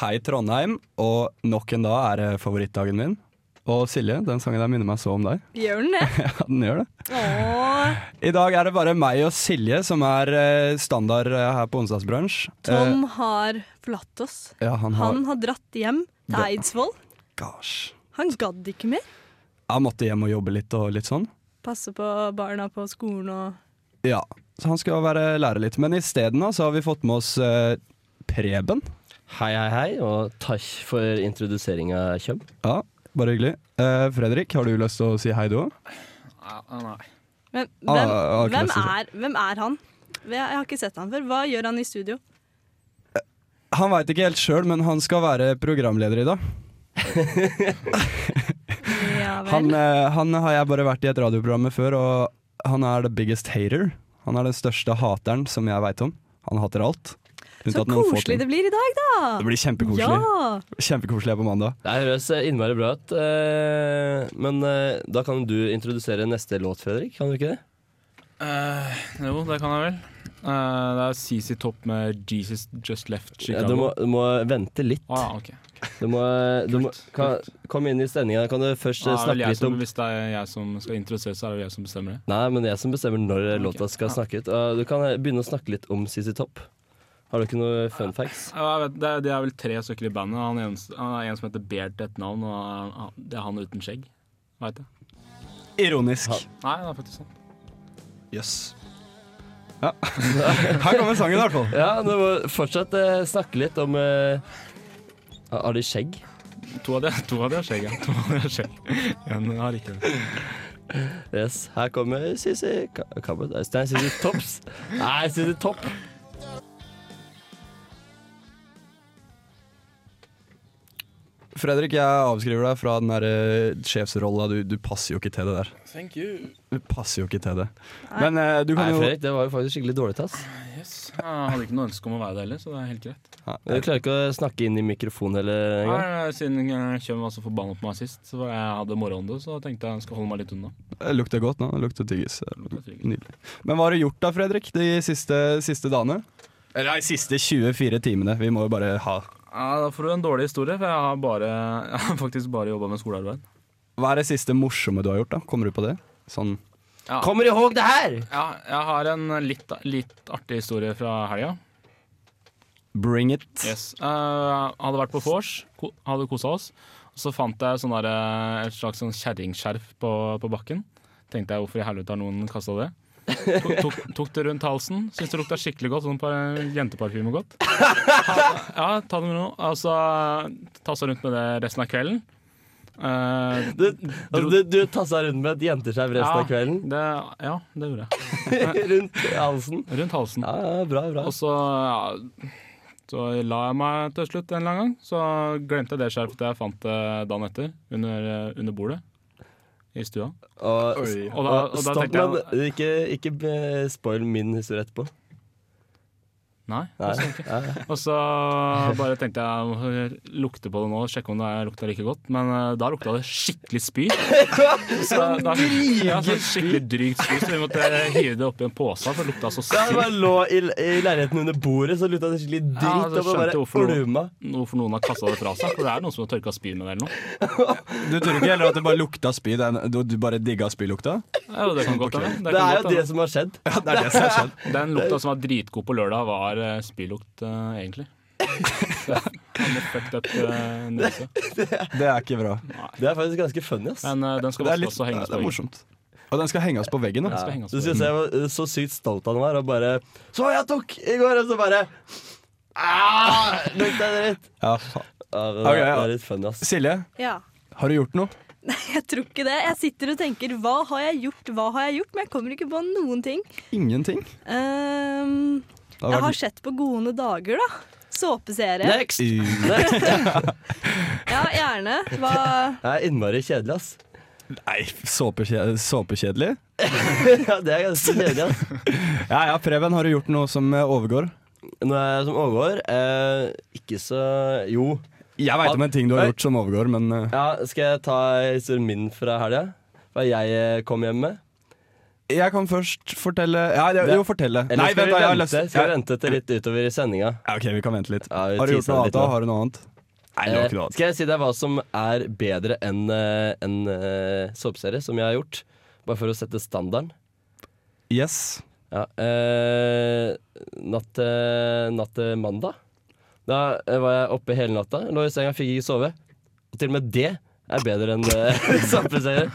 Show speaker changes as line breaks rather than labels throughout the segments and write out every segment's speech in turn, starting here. Hei Trondheim, og nok en dag er det favorittdagen min. Og Silje, den sangen der minner meg så om deg.
Gjør den det?
Ja, den gjør det.
Åh,
I dag er det bare meg og Silje som er eh, standard eh, her på Onsdagsbrunsj.
Tom har forlatt oss.
Eh, ja, Eh. han har
Han har dratt hjem til
Det-
Eidsvoll.
Gosh.
Han gadd ikke mer.
Jeg måtte hjem og jobbe litt og litt sånn.
Passe på barna på skolen og
Ja, så han skal være lærer litt. Men isteden da, så har vi fått med oss eh, Preben.
Hei, hei, hei, og takk for introduseringa, Kjøm.
Ja, bare hyggelig. Eh, Fredrik, har du lyst til å si hei du òg?
nei.
Men
Ah,
hvem,
ah, ok,
hvem,
så-
er, hvem er han? Jeg har ikke sett han før. Hva gjør han i studio?
Han veit ikke helt sjøl, men han skal være programleder i dag.
Ja vel.
Han, eh, han har jeg bare vært i et radioprogram med før, og han er the biggest hater. Han er den største hateren som jeg veit om. Han hater alt. unntatt
Så
noen få
koselig
ting.
det blir i dag, da!
Det blir kjempekoselig.
Ja!
Kjempekoselig her på mandag.
Det høres innmari bra ut. eh, Men eh, da kan du introdusere neste låt, Fredrik. Kan du ikke det?
Eh, jo, det kan jeg vel. Eh, det er CC Topp med 'Jesus Just Left
Ja, du, må,
Chicago'.
du må vente litt.
Å ja, OK.
Du må, du må kan, Kom inn i stemninga. Kan du først eh,
Da er vel
snakke
jeg
litt
som,
om
hvis det er jeg som skal introdusere, så er det vel jeg som bestemmer det.
Nei, men det er jeg som bestemmer når eh,
Ok.
låta skal
Ja.
snakke ut. Eh, Du kan eh, begynne å snakke litt om CC Topp. Har du ikke noe fun facts?
Ja, jeg vet, det, er, det er vel tre stykker i bandet. Han, eneste, han er en som heter Beard til et navn, og han- det er han uten skjegg. Veit jeg.
Ironisk.
Nei, det er faktisk sant.
Jøss. Ja. Her kommer sangen, i hvert fall.
Ja, du må fortsatt eh, snakke litt om eh, Har de skjegg?
To av de, to av de har skjegg. ja. To av de har skjegg. En har ikke det.
Yes, her kommer Sissy Ka- Kabel. Nei, Sissy Topps. Nei, Sissy Topp.
Fredrik, jeg avskriver deg fra den der eh, sjefsrolla. Du, du passer jo ikke til det der.
Thank you.
Du passer jo ikke til det. Men eh, du
Nei,
kan jo
Fredrik, det var jo faktisk skikkelig dårlig tass.
Yes. Jeg hadde ikke noe ønske om å være det heller, så det er helt greit.
Du klarer ikke å snakke inn i mikrofonen heller engang.
Nei, siden eh, Kjøm var så forbanna på meg sist, så var jeg hadde moro om det, så tenkte jeg jeg skal holde meg litt unna.
Det Eh, Lukter godt nå. det Lukter tyggis. Eh,
Lukter tyggis.
Nydelig. Men hva har du gjort da, Fredrik, de siste, siste dagene? Eller Eh, nei, siste 24 timene. Vi må jo bare ha
Ja, Da får du en dårlig historie, for jeg har, bare, jeg har faktisk bare jobba med skolearbeid.
Hva er det siste morsomme du har gjort? da? Kommer du på det? Sånn
Ja.
Kommer ihåg det her!
Ja, jeg har en litt, litt artig historie fra helga.
bring it.
Yes. Eh, hadde vært på vors, ko- hadde kosa oss. Og så fant jeg sånn der, eh, et slags sånn kjerringskjerf på, på bakken. Tenkte jeg hvorfor i helvete har noen kasta det? Tok, tok, tok det rundt halsen. Syns det lukta skikkelig godt. Sånn par- jenteparfyme godt. Ja, ta det med ro. Altså, tassa rundt med det resten av kvelden. Eh,
Du, altså, du, du tassa rundt med et jenteskjerv resten av kvelden.
Det, ja, det gjorde jeg.
rundt halsen.
Rundt halsen.
Ja, ja, bra, bra.
Og så, ja, så la jeg meg til slutt en eller annen gang. Så glemte jeg det skjerfet jeg fant eh, dagen etter, under, eh, under bordet i stua.
Og,
Oi.
og,
Og da- og da
stopp
tenkte
med det. Ikke, ikke eh, spoil min historie etterpå.
Nei.
Nei. Ja, ja.
Og så bare tenkte jeg jeg lukte på det nå, sjekke om det lukta like godt. Men eh, da lukta det skikkelig spy. Så, da, ja, så skikkelig drygt spy, så vi måtte hive det oppi en påse, for det lukta så
Da jeg
sykt.
bare lå i, i leiligheten under bordet, så lukta det skikkelig dritt.
Ja, altså,
og bare
skjønte hvorfor noen-
ulma.
Hvorfor noen har kasta det fra seg. For det er noen som har tørka spy med det eller noe.
Du tror ikke heller at det bare lukta spy? det er- Du, du bare digga spylukta?
Ja, det kan godt hende.
Det
kan
er jo
godt hende.
det som har skjedd.
Ja, det er det som har skjedd.
Den lukta som var dritgod på lørdag, var eh, spylukt, eh, egentlig. Det er en fucked up eh, nese.
Det er ikke bra.
Det er faktisk ganske funny, ass.
Men eh, den skal
Det er,
vaskes
litt,
og henges
ja, det
på
er
veggen.
morsomt. Og den skal henges på veggen. altså. Da.
Den skal
Ja.
henges
Du
på
skal se hvor eh, så sykt stolt han var, og bare Så jeg tok i går! Og så bare «Ah, Lukta det dritt.
Ja, faen.
Ja, det,
Ok,
det
ja.
er litt funny, ass.
Silje,
ja.
har du gjort noe?
Nei, jeg tror ikke det. Jeg sitter og tenker hva har jeg gjort, hva har jeg gjort? Men jeg kommer ikke på noen ting.
Ingenting.
Ehm,
Det har
jeg har
vært-
sett på Gode dager, da. Såpeserie.
Next!
Uh,
Next.
Ja, gjerne. Hva
Det er innmari kjedelig, ass.
Nei, såpekje- såpekjedelig?
Ja, det er ganske kjedelig, ass.
Ja ja, Preben, har du gjort noe som eh, overgår?
Nå er jeg som overgår. Eh, ikke så Jo.
Jeg veit om en ting du har gjort som overgår, men eh,
Ja, skal jeg ta historien min fra helga? Hva jeg eh, kom hjem med?
jeg kan først fortelle Ja, det- jo, fortelle.
Eller
Nei,
skal
vent,
vi
da. Jeg har
vente?
lyst
Skal vi vente til litt utover i sendinga?
Ja, OK, vi kan vente litt.
Ja, vi
har du gjort
teaser
noe annet,
litt
da?
nå.
Har du noe annet? Nei, det var
Eh,
ikke noe annet.
skal jeg si deg hva som er bedre enn eh, en eh, såpeserie, som jeg har gjort? Bare for å sette standarden.
Yes.
Ja, eh, natt, eh, natt til mandag Da eh, var jeg oppe hele natta. Lå i senga, fikk ikke sove. Og til og med det er bedre enn uh, såpeserie.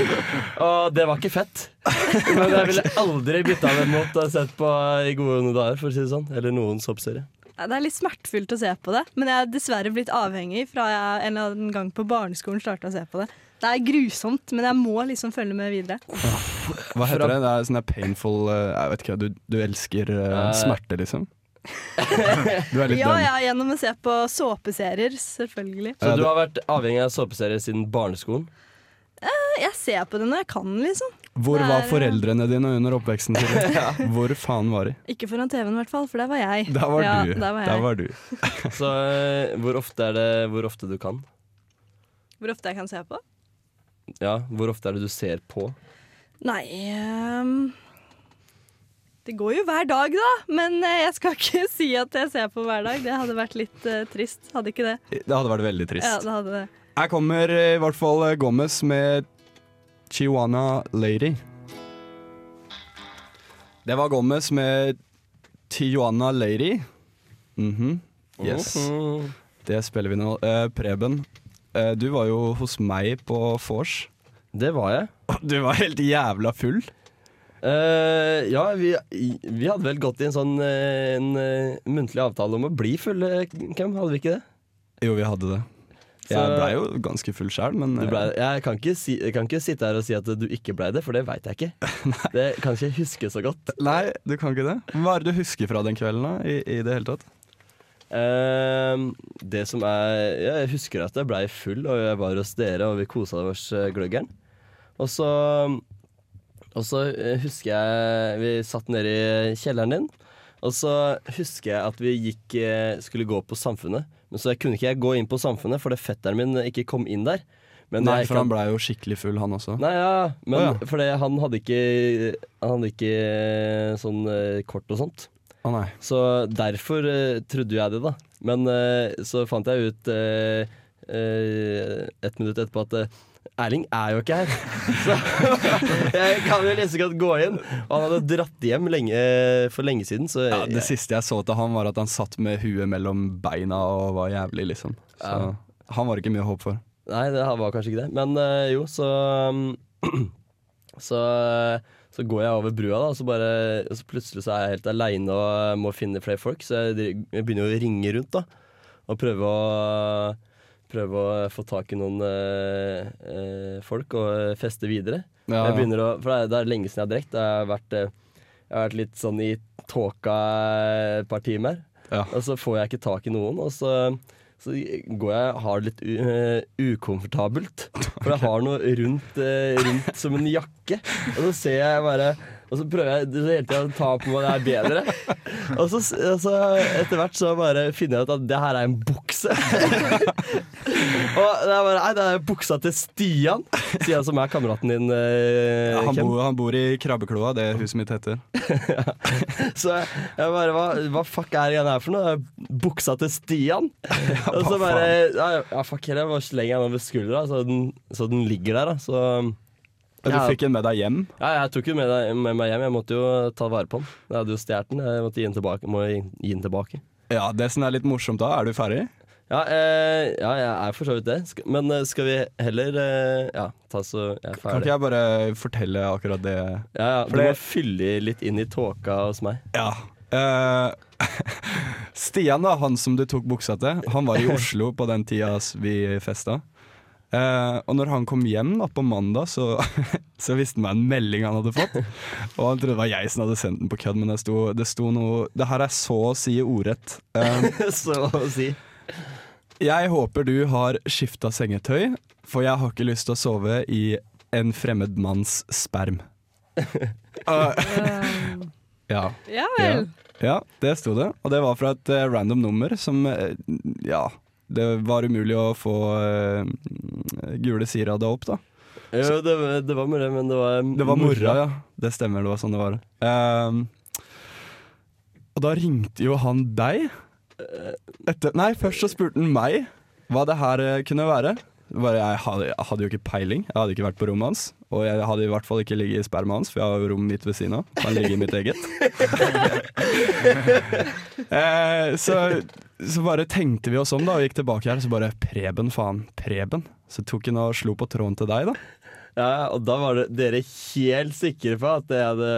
og det var ikke fett. Men jeg ville aldri bytta det mot å ha sett på eh, I gode dager, for å si det sånn. Eller noen såpeserie.
Ja, Det er litt smertefullt å se på det, men jeg er dessverre blitt avhengig fra jeg en eller annen gang på barneskolen starta å se på det. Det er grusomt, men jeg må liksom følge med videre.
Hva heter det? Det er sånn der painful eh, Jeg vet ikke, du, du elsker eh,
Eh.
smerte, liksom? Du er litt
Ja,
dum.
ja, gjennom å se på såpeserier, selvfølgelig.
Så du har vært avhengig av såpeserie siden barneskolen?
Jeg ser på det når jeg kan, liksom.
Hvor
Det
var
er-
foreldrene dine under oppveksten din? Hvor faen var de?
Ikke foran TV-en i hvert fall, for der var jeg.
Der var
ja,
du.
Der var jeg.
Der var du.
Så eh, hvor ofte er det hvor ofte du kan?
Hvor ofte jeg kan se på?
Ja, hvor ofte er det du ser på?
Nei ehm, Det går jo hver dag, da. Men eh, jeg skal ikke si at jeg ser på hver dag. Det hadde vært litt eh, trist. Hadde ikke det.
Det hadde vært veldig trist.
Ja, det hadde det.
Her kommer eh, i hvert fall eh, Gomez med Chihuana Lady. Det var Gomez med Tijuana Lady. Mhm. Yes.
Mhm.
Det spiller vi nå. Eh, Preben, eh, du var jo hos meg på vors.
Det var jeg.
Du var helt jævla full.
Eh, ja, vi, vi hadde vel gått i en sånn eh, en, eh, muntlig avtale om å bli fulle, Hvem Hadde vi ikke det?
Jo, vi hadde det. Jeg
Så-
blei jo ganske full sjæl, men
Du
eh,
ble, jeg kan ikke, si, jeg kan ikke sitte her og si at du ikke blei det, for det veit jeg ikke. Det kan ikke jeg huske så godt.
Nei, du kan ikke det. Hva er det du husker fra den kvelden, da? I, i det hele tatt?
Ehm, det som er Jeg husker at jeg blei full, og jeg var hos dere, og vi kosa oss eh, gløggeren. Og så Og så eh, husker jeg Vi satt nede i kjelleren din. Og så husker jeg at vi gikk, eh, skulle gå på Samfunnet. Men så kunne ikke jeg gå inn på Samfunnet, fordi fetteren min ikke kom inn der. Men
Nei,
jeg
for han blei jo skikkelig full, han også.
Nei, ja, men
Å, ja.
fordi han hadde ikke Han hadde ikke eh, sånn eh, kort og sånt.
Å nei.
Så derfor eh, trodde jeg det, da. Men eh, så fant jeg ut eh, eh, et minutt etterpå at eh, Erling er jo ikke her. Så jeg kan jo like så godt gå inn. Og han hadde dratt hjem lenge, for lenge siden, så
Ja, det
jeg,
siste jeg så til han var at han satt med huet mellom beina og var jævlig, liksom. Så
Ja.
han var ikke mye å håpe for.
Nei, det var kanskje ikke det. Men eh, jo, så um, så, eh, så går jeg over brua, da, og så, bare, og så plutselig så er jeg helt aleine og må finne flere folk. Så jeg, dri- jeg begynner jo å ringe rundt da, og prøve å, prøve å få tak i noen eh, eh, folk og feste videre.
Ja,
jeg begynner å, for det er, det er lenge siden jeg har drekt. Jeg har vært, eh, jeg har vært litt sånn i tåka eh, et par timer.
Ja.
Og så får jeg ikke tak i noen, og så, så går jeg har det litt u, eh, ukomfortabelt. For jeg har noe rundt, eh, rundt som en jakke. Og så ser jeg bare Og så prøver jeg så hele tida å ta på meg det er bedre. Og så, og så etter hvert så bare finner jeg ut at det her er en bukse. og det er bare Nei, det er buksa til Stian. Stian som er kameraten din, eh,
han,
Ken.
bor, han bor i Krabbekloa, det huset mitt heter.
Så jeg, jeg bare hva, hva fuck er det her for noe? Det er Buksa til Stian? og så
hva
bare ja, ja, fuck heller, jeg bare slenger den over skuldra, så den, så den ligger der, da. Så
Du
Ja.
fikk en med deg hjem.
ja, jeg tok jo med, deg- med meg hjem. Jeg måtte jo ta vare på den. Jeg hadde jo stjålet den. Jeg måtte gi den tilbake. Må gi, gi den tilbake.
Ja, Det som er litt morsomt da, er du ferdig?
Ja, eh, ja, jeg er for så vidt det. Sk- Men eh, skal vi heller eh, Ja, ta så Jeg er
Kan
ferdig.
ikke jeg bare fortelle akkurat det?
Ja, ja,
For
du må
det-
fylle litt inn i tåka hos meg.
Ja. Eh, Stian, da, han som du tok buksa til, han var i Oslo på den tida s- vi festa. Eh, og når han kom hjem da, på mandag, så, så visste han meg en melding han hadde fått. Og han trodde det var jeg som hadde sendt den på kødd, men det sto, det sto noe Det her er så å si ordrett. Eh,
så å si.
jeg håper du har skifta sengetøy, for jeg har ikke lyst til å sove i en fremmed manns sperm. Eh,
Ehm,
ja.
ja vel.
Ja, det sto det. Og det var fra et eh, random nummer som eh, Ja, det var umulig å få eh, gule sider av det opp, da.
Jo, det, var- det var med det, men det var
Det var mora, ja. Det stemmer, det var sånn det var. Ehm, og da ringte jo han deg. Etter, nei, først så spurte han meg hva det her eh, kunne være. Bare, jeg, hadde, jeg hadde jo ikke peiling. Jeg hadde ikke vært på rommet hans. Og jeg hadde i hvert fall ikke ligget i spermaet hans, for jeg har jo rommet mitt ved siden av. Han ligger i mitt eget. Eh, så, så bare tenkte vi oss om da, og gikk tilbake her, så bare Preben, faen. Preben. Så tok han og slo på tråden til deg, da.
Ja, og da var det, dere helt sikre på at jeg hadde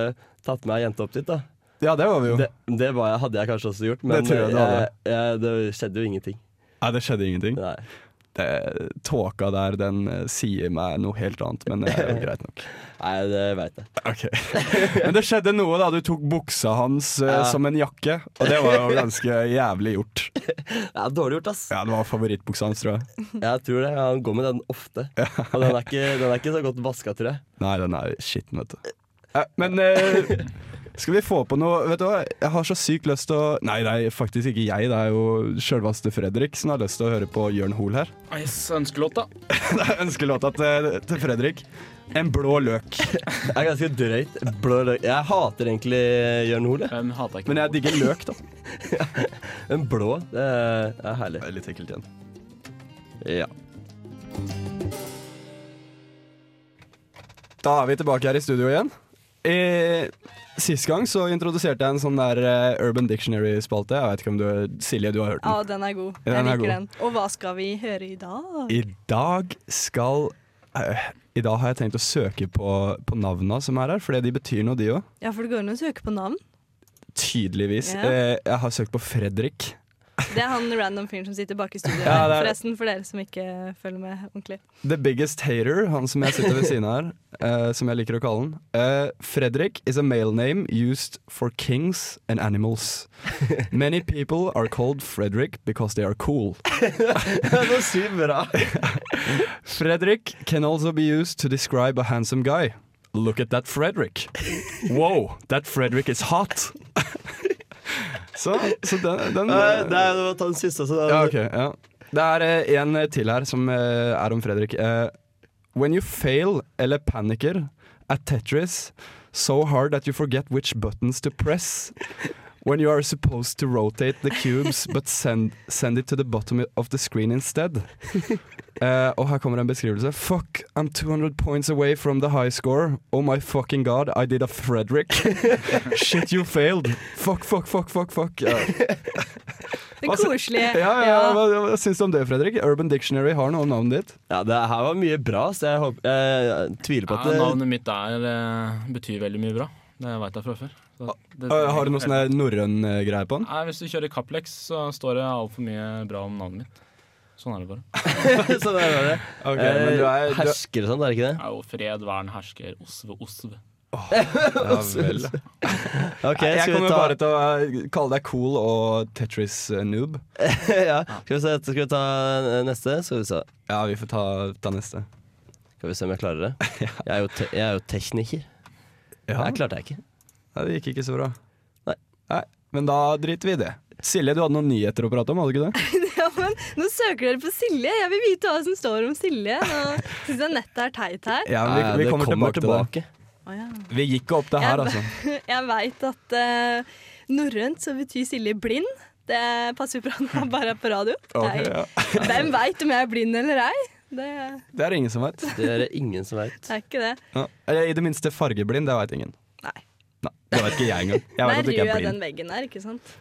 tatt med ei jente opp dit, da.
Ja, det var vi jo.
Det, det var jeg, hadde jeg kanskje også gjort, men
Det tror jeg du hadde.
jeg- jeg- det skjedde jo ingenting.
Nei, det skjedde ingenting.
Nei.
det, tåka der, den eh, sier meg noe helt annet, men det er jo greit nok.
Nei, det veit jeg.
Men det skjedde noe da du tok buksa hans eh,
Ja.
som en jakke, og det var jo ganske jævlig gjort.
Ja, dårlig gjort, ass.
Ja, det var favorittbuksa hans, tror jeg.
Jeg tror det. Han går med den ofte. Og den er ikke, den er ikke så godt vaska, tror jeg.
Nei, den er skitten, vet du. Eh, Men eh, skal vi få på noe Vet du hva, jeg har så sykt lyst til å Nei, det er faktisk ikke jeg, det er jo sjølveste Fredrik som har lyst til å høre på Jørn Hoel her.
Yes, ønskelåt, da.
Det er ønskelåta til, til Fredrik. En blå løk.
Det er ganske drøyt. Blå løk. Jeg hater egentlig Jørn Hoel. jeg.
Den hater jeg ikke.
Men jeg digger løk, da.
En blå, det er, det er herlig.
Det er litt ekkelt igjen.
Ja.
Da er vi tilbake her i studio igjen. Eh, Sist gang så introduserte jeg en sånn der eh, Urban Dictionary-spalte. Jeg vet ikke om du, Silje, du har hørt
Ja,
den.
den er god.
Ja,
Jeg
den er
liker
god.
den. Og hva skal vi høre i dag?
I dag skal eh, I dag har jeg tenkt å søke på, på navna som er her, fordi de betyr noe, de òg.
Ja, for det går an å søke på navn.
Tydeligvis.
Ja.
Eh, jeg har søkt på Fredrik.
Det er han random fyren som sitter bak i studio
Ja,
her,
det er-
forresten, for dere som ikke følger med ordentlig.
The Biggest Hater, han som jeg sitter ved siden av her, eh, som jeg liker å kalle han. Eh, Fredrik is a male name used for kings and animals. Many people are called Fredrik because they are cool.
Så sykt bra.
Fredrik can also be used to describe a handsome guy. Look at that Fredrik. Wow, that Fredrik is hot. så, så den, den
Nei, nei, Eh, det var ta den siste. Så da,
Ja, ok. Ja. Det er eh, en til her som eh, er om Fredrik. Eh, when you fail eller panicker at Tetris so hard that you forget which buttons to press. When you are supposed to rotate the cubes but send, send it to the bottom of the screen instead. Eh, og her kommer en beskrivelse. Fuck, I'm 200 points away from the high score. Oh my fucking god, I did a Fredrik. Shit, you failed. Fuck, fuck, fuck, fuck, fuck. Ja.
Det
Hva så-
koselige.
Ja, ja,
Ja.
Hva, hva syns du om det, Fredrik? Urban Dictionary har noe om navnet ditt.
Ja, det her var mye bra, så jeg, håper, jeg, jeg tviler på
Ja,
at det
navnet mitt er, eh, betyr veldig mye bra. Det veit jeg fra før. Så det-
Øh, har du noe sånn norrøn eh, greie på den?
Nei, Hvis du kjører Caplex, så står det altfor mye bra om navnet mitt. Sånn er det bare.
Så der var det.
Eh,
Eh,
her-
Hersker og sånn, er det ikke det?
Det er jo fred, vern, hersker, osv., osv.
ja, vel.
Ok,
Jeg
skal vi
kommer
ta
bare til å eh, kalle deg cool og eh, Tetris-noob.
ja. skal, vi se, skal vi ta eh, neste? Skal vi se,
Ja, vi får ta, ta neste.
skal vi se om jeg klarer det. Jeg er jo, te jeg er jo tekniker.
Ja.
Det klarte jeg ikke.
Nei, det gikk ikke så bra.
Nei.
Men da driter vi i det. Silje, du hadde noen nyheter å prate om, hadde du ikke det?
Ja, men nå søker dere på Silje. Jeg vil vite hva som står om Silje. Nå syns jeg nettet er teit her.
Ja, vi, vi
Nei, Eh, det
Eh, kommer, tilbake,
tilbake.
Å, ja.
til det. Vi gikk opp det her,
Ja,
altså.
Jeg veit at eh, norrønt så betyr Silje blind. Det passer jo bra når jeg bare er på radio.
Ok,
Jeg-
ja.
Hvem veit om jeg er blind eller ei? Det,
Det er ingen som veit.
Det er det ingen som veit.
det er ikke det.
Ja. Eller i det minste fargeblind, det veit ingen.
Nei.
Nei, Det veit ikke jeg engang. Jeg vet
Der
at du ikke er
ryr jeg den
blind.
veggen der, ikke sant?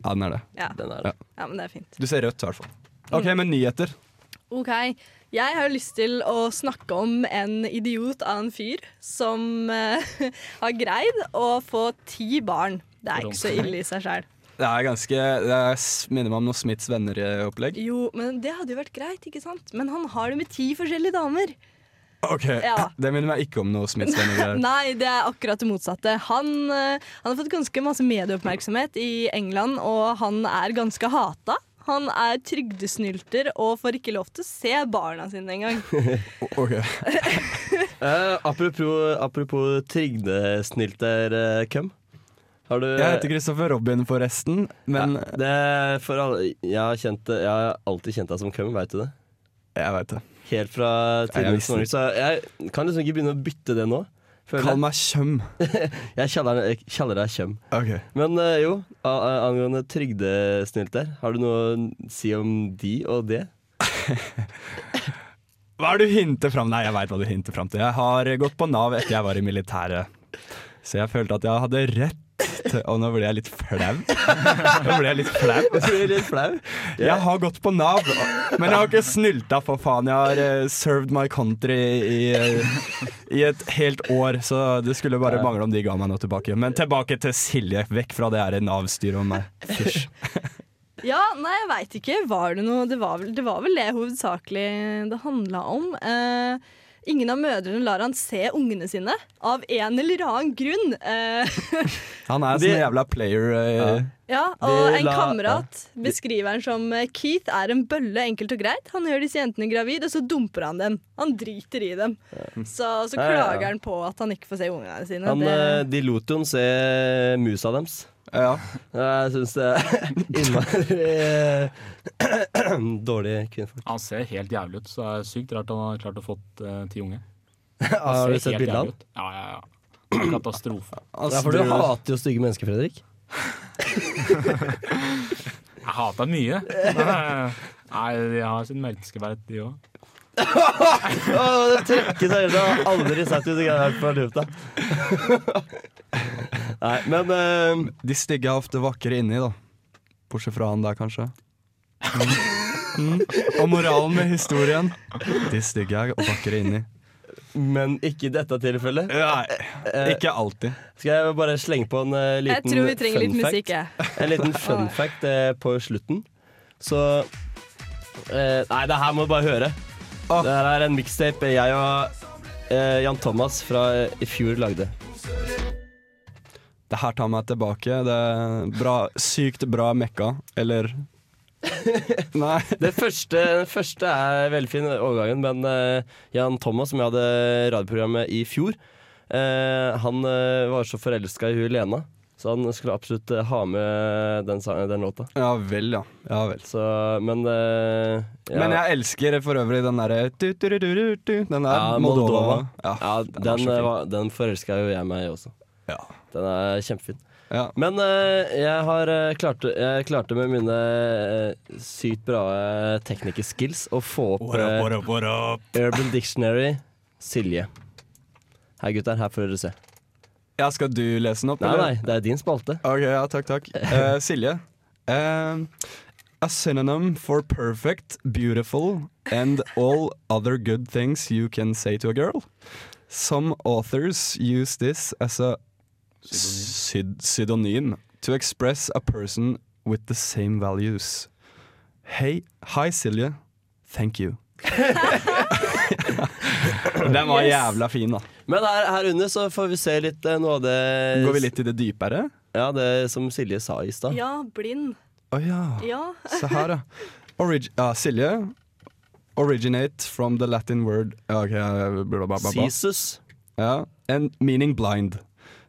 Ja, den er det.
Ja.
Den er det.
ja, men det er fint.
Du ser rødt, i hvert fall. OK, men nyheter.
OK. Jeg har lyst til å snakke om en idiot av en fyr som eh, har greid å få ti barn. Det er ikke så ille i seg sjæl.
Det er ganske Det er, s- minner meg om noe Smiths venner-opplegg.
Jo, men det hadde jo vært greit, ikke sant? Men han har det med ti forskjellige damer.
Ok,
Ja.
Det minner meg ikke om noe Smiths venner.
Nei, det er akkurat det motsatte. Han, eh, han har fått ganske masse medieoppmerksomhet i England, og han er ganske hata. Han er trygdesnylter og får ikke lov til å se barna sine engang.
Ok.
Eh, apropos apropos trygdesnylter-køm. eh, Har du
Jeg heter Kristoffer Robin, forresten, men
ja, det er for alle, jeg, har kjent, jeg har alltid kjent deg som køm, veit du det?
jeg veit det.
helt fra tidligere
visste det.
så jeg kan liksom ikke begynne å bytte det nå. føler
Kall meg Tjøm.
Jeg, jeg kaller deg- jeg kaller deg Kjøm.
Ok.
Men eh, jo, a a angående trygdesnylter, har du noe å si om de og det?
Hva er det du hinter fram? Nei, jeg veit hva du hinter fram til. Jeg har gått på Nav etter jeg var i militæret. Så jeg følte at jeg hadde rett til Og nå ble jeg litt flau. Nå ble jeg litt flau.
Jeg blir litt flau.
Jeg har gått på Nav, men jeg har ikke snylta, for faen. Jeg har eh, served my country i, eh, i et helt år, så det skulle bare mangle om de ga meg noe tilbake. Men tilbake til Silje. Vekk fra det her Nav-styret om meg. Fysj.
Ja, nei, jeg veit ikke. Var det noe Det var vel det, var vel det hovedsakelig det handla om. Eh, ingen av mødrene lar han se ungene sine, av en eller annen grunn. Eh,
Han er
Det-
sånn jævla player. Eh,
ja,
Ja.
og
De
en
la-
kamerat beskriver han som eh, Keith er en bølle, enkelt og greit. Han gjør disse jentene gravid, og så dumper han dem. Han driter i dem. Så, så
Ja, ja, ja.
klager han på at han ikke får se ungene sine.
Han,
det,
eh, de lot jo han se musa deres.
ja.
Jeg syns det er innmari eh, dårlig kvinnfolk.
Han ser helt jævlig ut, så det er sykt rart han har klart å fått eh, ti unge. Han
Har
ser
du sett
Altså, helt
bildet av
jævlig
han?
ut. Ja, ja, ja. Det er Katastrofe.
Ja,
Altså,
for du
du-
hater jo stygge mennesker, Fredrik.
Jeg hater han mye. Nei, de har sin menneskeverd, de òg.
Å, det trekker seg ut. Jeg har aldri sett ut som her på lufta. Nei, men eh,
De stygge er ofte vakre inni, da. Bortsett fra han der, kanskje. Mm. Og moralen med historien. De stygge er vakre inni.
Men ikke i dette tilfellet.
Nei,
Eh,
ikke alltid.
skal jeg bare slenge på en eh,
jeg
liten
tror vi trenger litt
fun fact?
musikk, jeg.
En liten fun fact eh, på slutten. Så eh, Nei, det her må du bare høre.
Ah.
Det her er en mixtape jeg og eh, Jan Thomas fra eh, i fjor lagde.
Det her tar meg tilbake. Det er bra, sykt bra mekka. Eller Nei.
Det første, den første er veldig fin overgangen, men eh, Jan Thomas, som jeg hadde radioprogrammet i fjor, eh, han eh, var så forelska i hun Lena, så han skulle absolutt eh, ha med den, sangen, den låta.
Ja vel, ja. ja vel.
Så, men eh, ja.
Men jeg elsker for øvrig den derre du, du, du, du, du, du, Den der
Ja,
Moldova.
Moldova.
Ja.
ja,
er så
den,
fin.
eh, var- den forelska jo jeg meg i også.
Ja.
Den er kjempefin.
Ja.
Men eh, jeg har eh, klarte, jeg klarte med mine eh, sykt bra eh, teknikerskills å få opp
What up,
eh,
what up, what up?
Urban Dictionary Silje. Her gutter, her får dere se.
Ja, skal du lese den opp,
Nei, nei, det er din spalte.
Ok, ja, takk, takk. Eh, Silje. Eh, a synonym for perfect, beautiful and all other good things you can say to a girl. Some authors use this as a syd pseudonym to express a person with the same values. Hey, hi Silje. Thank you. Den var
Yes.
jævla fin, da.
Men her, her under så får vi se litt eh, noe av det
Går vi litt i det dypere?
Ja, det som Silje sa i stad.
Ja, blind.
Å ja.
Ja.
Se her, ja. Orig ja, Silje. Originate from the Latin word ja, ok, bla, bla, bla, bla.
Jesus.
Ja. And meaning blind.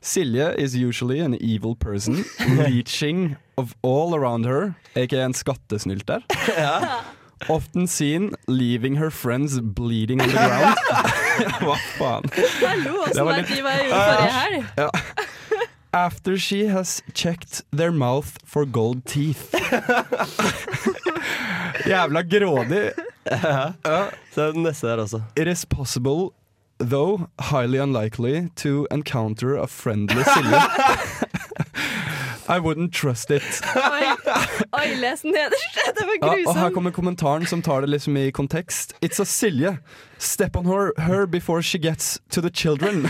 Silje is usually an evil person reaching of all around her, aka en skattesnylter. Often seen leaving her friends bleeding on the ground. Hva faen?
Hallo, åssen
var
veit de hva jeg gjorde forrige helg?
After she has checked their mouth for gold teeth. Jævla grådig.
Så er det den neste der også.
It is possible, though highly unlikely, to encounter a friendly Silje. I wouldn't trust it.
Oi, oi les nederst. Det var
Ja, og her
grusomt.
kommer kommentaren som tar det liksom i kontekst. It's a Silje. Step on her, her before she gets to the children.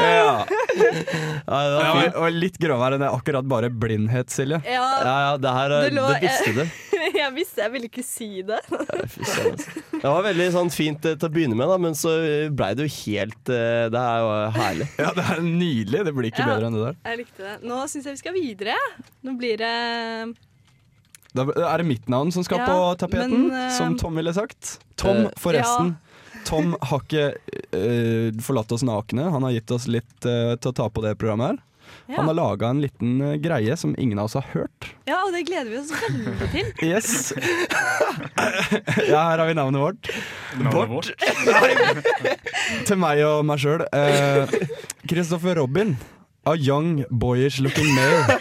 ja,
Ja, det var
og,
fint.
og litt gråvær enn det er akkurat bare blindhet, Silje.
Ja,
Ja, ja, det her er
Det lå-
det visste du.
jeg visste jeg ville ikke si det.
Fy søren, altså. Det var veldig sånn fint eh, til å begynne med, da, men så blei det jo helt eh, Det er jo herlig.
Ja, det er nydelig. Det blir ikke
Ja.
bedre enn det der.
Jeg likte det. Nå syns jeg vi skal videre. Nå blir det
Da er det mitt navn som skal
Ja,
på tapeten,
men, eh,
som Tom ville sagt. Tom,
Eh,
forresten. Tom har ikke eh, forlatt oss nakne. Han har gitt oss litt eh, til å ta på det programmet her.
Ja.
Han har laga en liten eh, greie som ingen av oss har hørt.
ja, og det gleder vi oss veldig til.
Yes. ja, her har vi navnet vårt.
Navnet vårt.
Til meg og meg sjøl. Christopher Robin. A young boyish looking male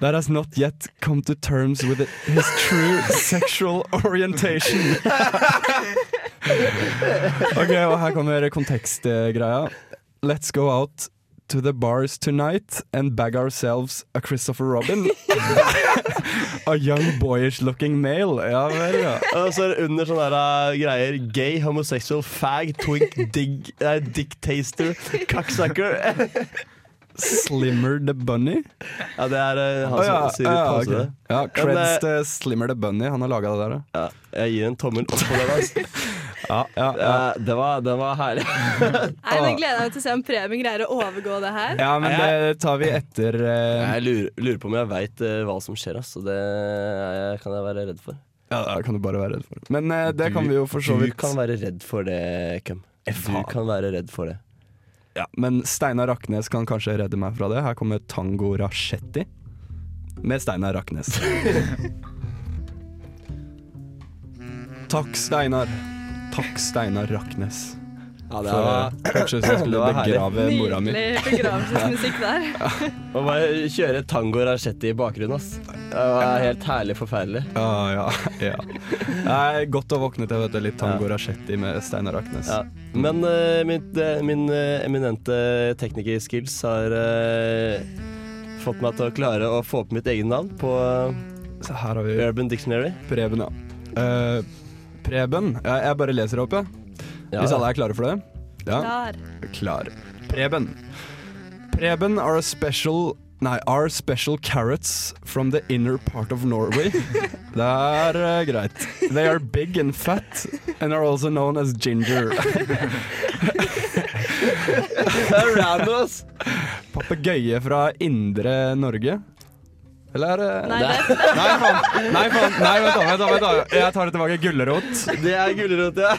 that has not yet come to terms with his true sexual orientation. ok, og her kommer kontekstgreia. Let's go out to the bars tonight and bag ourselves a Christopher Robin. a young boyish looking male. Ja vel, ja.
Og så er det under sånne her, eh, greier Gay, homosexual, fag, twink, dig, nei, dick taster, cocksucker.
Slimmer the bunny.
Ja, det er eh, han
Å ja,
som sier
ja,
ah,
ok. ja,
Men,
Creds
eh,
til Slimmer the Bunny. Han har laga det der,
Ja, jeg gir en tommel opp på den. Altså.
ja. Ja, ja.
Eh, det, var, det var herlig.
Nei, men gleder jeg meg til å se om Preben greier å overgå det her.
ja, men det tar vi etter eh,
Jeg lurer, lurer på om jeg veit hva som skjer, ass, og det er- kan jeg være redd for.
Ja, det kan du bare være redd for. Men eh, det kan vi jo for så
Du
vidt
kan være redd for det, Kem. Du
faen.
kan være redd for det.
ja, Men Steinar Raknes kan kanskje redde meg fra det. Her kommer Tango Rashetti med Steinar Raknes. Takk, Steinar. Takk, Steinar Raknes.
Ja, det
For kanskje jeg
Det
skulle
var herlig.
begrave mora mi.
Nydelig begravelsesmusikk der.
Å bare kjøre tango rachetti i bakgrunnen, ass. Det var helt herlig forferdelig.
Ja, ja, ja. Nei, godt å våkne til vet du, litt tango rachetti med Steinar Aknes.
Ja. Men eh, mitt, eh, min eh, eminente teknikerskills har eh, fått meg til å klare å få opp mitt eget navn på
Så her har
eh,
vi
Urban Dictionary.
Preben, ja. Eh, Preben. Ja, jeg bare leser opp, jeg.
Ja.
Hvis alle er klare for det? Ja,
Klar.
klar. Preben. Preben are a special Nei, are special carrots from the inner part of Norway. Det er eh, greit. They are big and fat and are also known as ginger.
Det er random, ass!
Papegøye fra indre Norge. Eller eh, er det
Nei, det,
Nei, faen. Nei, faen. Nei, vent da, vent da, vent da. Jeg tar det tilbake. Gulrot.
Det er gulrot, ja.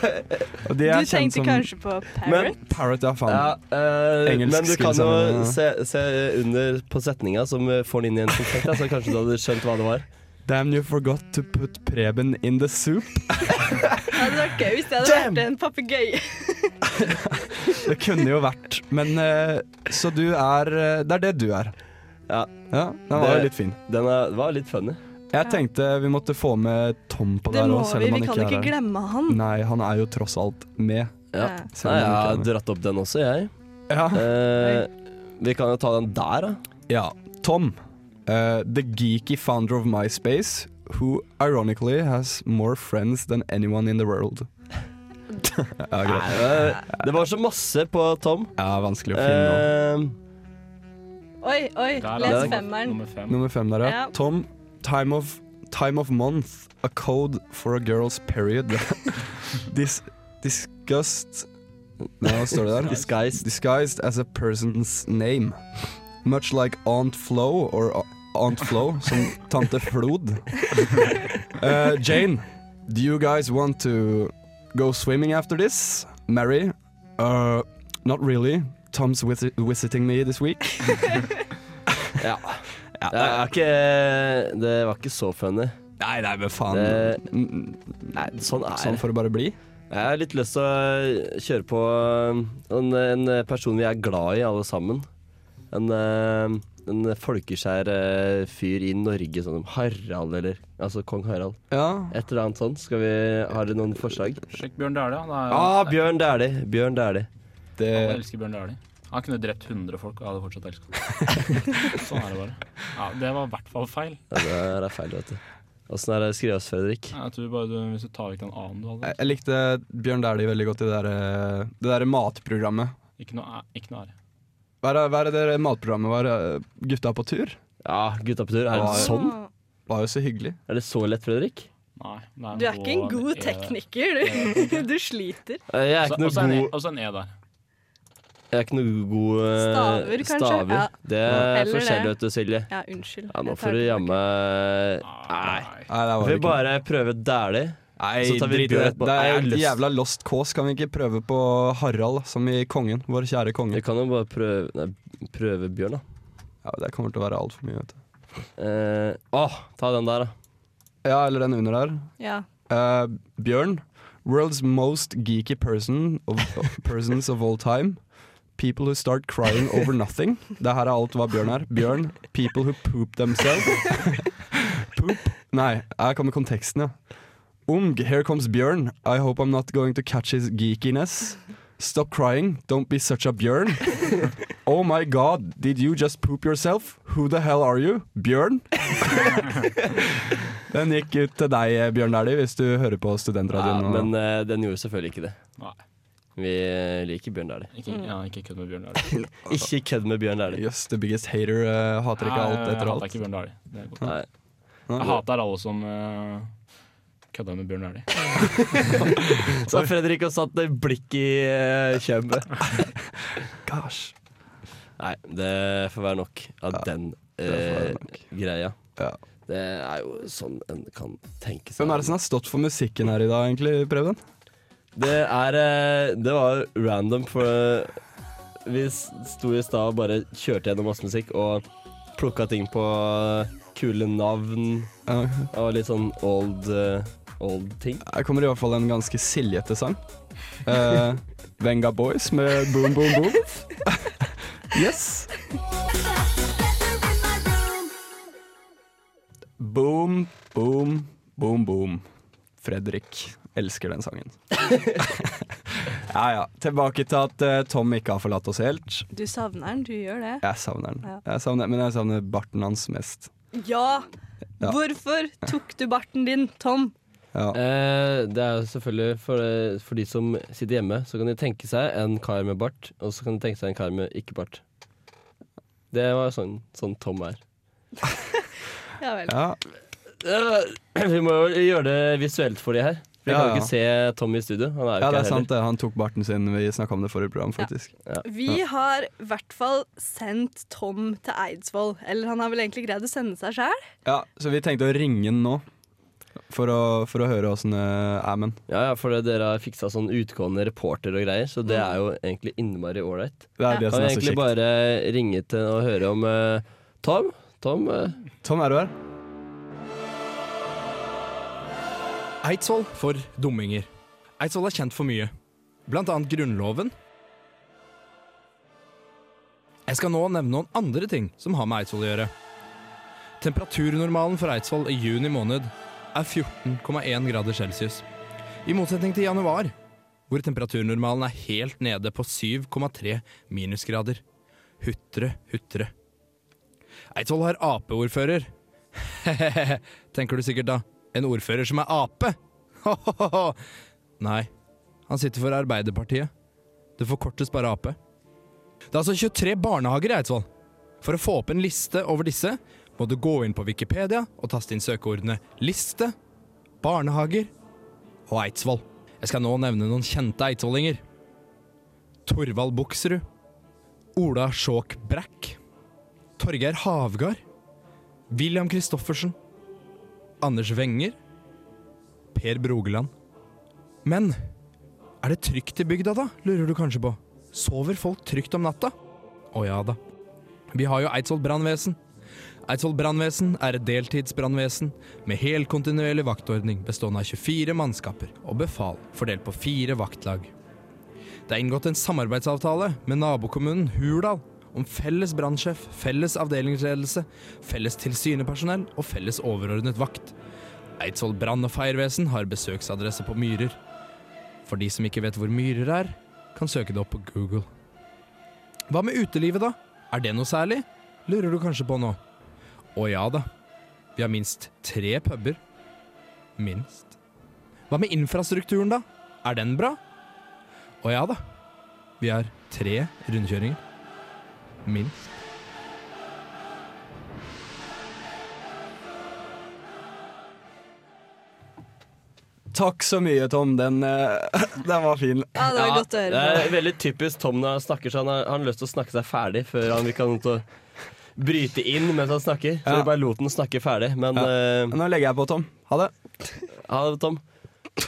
Og de er kjent
du tenkte
som
kanskje på
Men-
Parrot?
Parrot, ja, faen.
ja eh,
Engelsk
men du kan
skills er
jo
med-
se, se under på setninga som eh, får den inn i en konflikt, da, så kanskje du hadde skjønt hva det var.
Damn, you forgot to put Preben in the soup.
Det hadde vært gøy hvis det hadde
Damn!
vært en papegøye.
Det kunne jo vært, men eh, Så du er eh, Det er det du er.
Ja.
Ja, Den var jo
Det-
litt fin.
Den er, var litt funny.
Jeg tenkte vi måtte få med Tom på
Det
der
må
òg, selv
vi.
om
Vi
han ikke
kan
er
ikke
her.
glemme han.
Nei, han er jo tross alt med.
Ja.
Ja.
Selv
Nei,
om han
jeg har
ikke er med.
dratt opp den også, jeg.
Ja.
Eh, vi kan jo ta den der, da.
Ja, Tom. eh, the geeky founder of MySpace, who ironically has more friends than anyone in the world. ja, greit.
Eh, det var så masse på Tom.
Ja, vanskelig å finne nå.
Eh,
Oi, oi,
Der er
les
nummer-
femmeren.
Nummer fem.
Nummer fem der, ja.
Ja.
Tom, time of, time of month, a code for a girl's period. Dis, disgust Nei, hva står det der?
disguised.
Disguised as a person's name. Much like Aunt Flo or A- Aunt Flo, som tante Flod. Uh, Jane, do you guys want to go swimming after this? Mary, uh, not really. Tom's visi- visiting me this week.
Ja.
Ja,
Det, er ikke, det var ikke så funny.
Nei, nei, men faen.
Det-
Mm,
Nei, sånn er
Sånn
det.
får det bare bli.
Jeg har litt lyst til å eh, kjøre på eh, en, en person vi er glad i alle sammen. En, eh, en folkeskjær eh, fyr i Norge, sånn som Harald eller Altså kong Harald.
Ja.
Et eller annet sånt. Skal vi, har dere noen forslag?
Sjekk Bjørn Dæhlie. da. Det er-
Ah, Bjørn Dæhlie. Bjørn Dæhlie.
Alle
Det,
elsker Bjørn Dæhlie. Han kunne drept 100 folk, og jeg hadde fortsatt elska ham. Sånn er det bare. Ja, det var i hvert fall feil.
Ja, det er feil, vet du. Åssen er det skrevet, Fredrik?
Jeg tror bare du, Hvis du tar vekk den annen du hadde
jeg jeg likte Bjørn Dæhlie veldig godt i det derre der matprogrammet.
Ikke noe, æ- ikke noe ære.
Hva er, hva er det der matprogrammet var? eh, Gutta på tur?
Ja, gutta på tur. Er det
Ah,
sånn?
Var jo så hyggelig.
Er det så lett, Fredrik?
Nei. det en
Du er ikke en
H,
god
E.
tekniker, du. Du sliter.
Eh, Jeg er
Så-
ikke noe
Og så en E-
god,
og så en E der.
jeg er ikke noe god eh,
Staver, kanskje?
Staver.
Ja.
Det
Eller
er
det.
forskjellig, vet du, Silje.
Ja, unnskyld.
Ja, nå
Jeg tar
får du
det
jamme Nei.
Nei.
Nei, det var
Vi
ikke
bare prøver Dæhlie.
Nei,
så tar vi
drit i det.
Bjørn på-
Det
Nei, jeg
er
har lyst.
jævla lost cause. Kan vi ikke prøve på Harald, som i Kongen? Vår kjære konge.
Vi kan jo bare prøve Nei, prøve Bjørn, da.
Ja, det kommer til å være altfor mye, vet du.
Eh, åh, ta den der, da.
Ja, eller den under der.
Ja.
Eh, Bjørn. World's most geeky person of, persons of all time. People who start crying over nothing. Det her er alt hva Bjørn er. Bjørn. People who poop themselves. poop? Nei, her kommer konteksten, ja. Ung, here comes Bjørn. I hope I'm not going to catch his geekiness. Stop crying, don't be such a Bjørn. Oh my god, did you just poop yourself? Who the hell are you? Bjørn? Den gikk ut til deg, Bjørn Dæhlie, hvis du hører på
Ja,
studentradioen. nå.
men eh, den gjorde selvfølgelig ikke det.
Nei,
Vi eh, liker Bjørn Dæhlie.
ikke, ja, ikke kødd med Bjørn Dæhlie.
Ikke kødd med Bjørn Dæhlie.
Yes, the biggest hater eh, hater ikke alt
Jeg
etter
hater
alt.
ikke Bjørn Dæhlie. Det er godt.
Nei.
Jeg hater alle som eh, kødda med Bjørn Dæhlie.
Så Fredrik har satt et blikk i uh, kjømmet.
Gosh.
Nei, det får være nok av den
får være
eh, greia.
Ja.
Det er jo sånn en kan tenke seg.
Hvem er det som har stått for musikken her i dag, egentlig, Preben?
Det er eh, Det var random, for eh, vi s- sto i stad og bare kjørte gjennom masse musikk og plukka ting på eh, kule navn
Ja,
og litt sånn old, eh, old ting.
Her kommer i hvert fall en ganske siljete sang. Eh, Venga Boys med Boom Boom Boom. yes. Boom, boom, boom, boom. Fredrik elsker den sangen. ja ja. Tilbake til at eh, Tom ikke har forlatt oss helt.
Du savner den, du gjør det.
Jeg savner den.
Ja.
Jeg savner, men jeg savner barten hans mest.
Ja!
Ja.
Hvorfor tok du barten din, Tom?
Ja.
Eh, det er jo selvfølgelig for, eh, for de som sitter hjemme, så kan de tenke seg en kar med bart, og så kan de tenke seg en kar med ikke bart. Det var jo sånn, sånn Tom er.
Ja vel.
ja.
Eh, Vi må jo gjøre det visuelt for de her. Vi
Ja,
kan jo
ja.
ikke se Tom i studio. Han er
Ja,
jo ikke
det
her
er sant. det. Han tok barten sin. Vi snakka om det i forrige program,
Ja.
faktisk.
Vi har i hvert fall sendt Tom til Eidsvoll. Eller han har vel egentlig greid å sende seg sjæl.
Ja, Så vi tenkte å ringe han nå, for å, for å høre åssen det er med han.
Ja, ja, for det- dere har fiksa sånn utgående reporter og greier, så det er jo egentlig innmari ålreit.
Mm. Det er
Ja.
det
Kan
som er
vi
så
egentlig
kjekt.
bare ringe til og høre om eh, Tom? Tom, eh,
Tom, Sånn er du her?
Eidsvoll for dumminger. Eidsvoll er kjent for mye, blant annet Grunnloven. Jeg skal nå nevne noen andre ting som har med Eidsvoll å gjøre. Temperaturnormalen for Eidsvoll i juni måned er 14,1 grader celsius. I motsetning til januar, hvor temperaturnormalen er helt nede på 7,3 minusgrader. Hutre, hutre. Eidsvoll har Ap-ordfører. tenker du sikkert da. En ordfører som er ape? Nei, han sitter for Arbeiderpartiet. Det forkortes bare Ap. Det er altså 23 barnehager i Eidsvoll. For å få opp en liste over disse, må du gå inn på Wikipedia og taste inn søkeordene 'liste', 'barnehager' og 'Eidsvoll'. Jeg skal nå nevne noen kjente eidsvollinger. Torvald Buksrud. Ola Skjåk Brækk. Torgeir Havgard. William Christoffersen. Anders Wenger, Per Brogeland. Men er det trygt i bygda, da? lurer du kanskje på. Sover folk trygt om natta? Å ja da. Vi har jo Eidsvoll brannvesen. Eidsvoll brannvesen er et deltidsbrannvesen med helkontinuerlig vaktordning bestående av 24 mannskaper og befal fordelt på fire vaktlag. Det er inngått en samarbeidsavtale med nabokommunen Hurdal om felles brannsjef, felles avdelingsledelse, felles tilsynepersonell og felles overordnet vakt. Eidsvoll brann- og feirvesen har besøksadresse på Myrer. For de som ikke vet hvor Myrer er, kan søke det opp på Google. Hva med utelivet, da? Er det noe særlig? Lurer du kanskje på nå. Å ja da. Vi har minst tre puber. Minst. Hva med infrastrukturen, da? Er den bra? Å ja da. Vi har tre rundkjøringer. Minst.
Takk så mye, Tom. Den, eh, den var fin.
Ja, det var godt å
det
høre.
er veldig typisk Tom når han snakker, så han har, han har lyst til å snakke seg ferdig før han vil kan til å bryte inn mens han snakker. Så
Ja.
vi bare lot han snakke ferdig. Men eh,
Nå legger jeg på, Tom. Ha det.
ha det, Tom.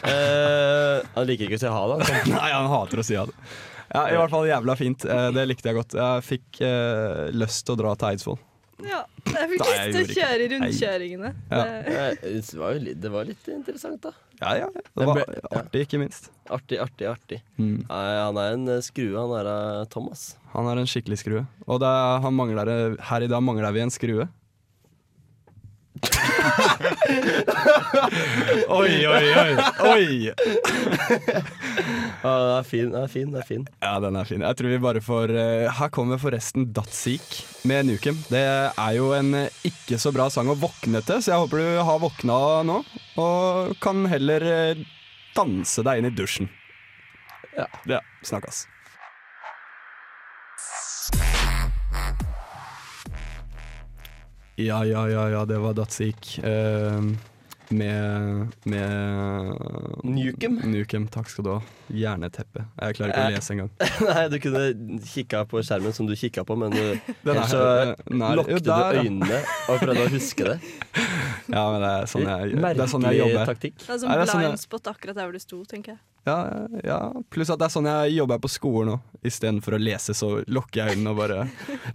Eh, han liker ikke å si ha det. han.
Nei, han hater å si ha det. Ja, I hvert fall jævla fint. Eh, Det likte jeg godt. Jeg fikk eh, lyst til å dra til Eidsvoll.
Ja, jeg fikk
Nei, jeg
lyst til å
gjorde
kjøre i
Nei.
rundkjøringene.
Ja.
Det-
Eh, Det var jo litt, det var litt interessant, da.
Ja, ja. Det var artig, ikke minst.
Artig, artig, artig.
Mm.
Nei, han er en eh, skrue, han er eh, Thomas.
Han er en skikkelig skrue. Og det er, han mangler, her i dag mangler vi en skrue. oi, oi, oi. oi!
Ja, det er fin, det er fin. det er fin
Ja, den er fin. Jeg tror vi bare får eh, Her kommer forresten Datsik med Nukem. Det er jo en eh, ikke så bra sang å våkne til, så jeg håper du har våkna nå. Og kan heller eh, danse deg inn i dusjen.
Ja.
ja snakkes. Ja, ja, ja, ja, det var Datsik. eh, med med
Nukem?
Nukem, Takk skal du ha. Hjerneteppe. Jeg klarer ikke å
Eh.
lese engang.
Nei, du kunne kikka på skjermen som du kikka på, men du,
Den
ellers
er- eh,
så
den er- jo,
lukket du
der, ja.
øynene og prøvde å huske det.
Ja, men det er sånn jeg, det er sånn jeg
Merkelig
jobber.
taktikk.
Det er
Nei,
sånn
det er sånn jeg-
blind spot akkurat der hvor du sto, tenker jeg.
Ja, ja. Pluss at det er sånn jeg jobber på skolen òg. Istedenfor å lese, så lukker jeg øynene og bare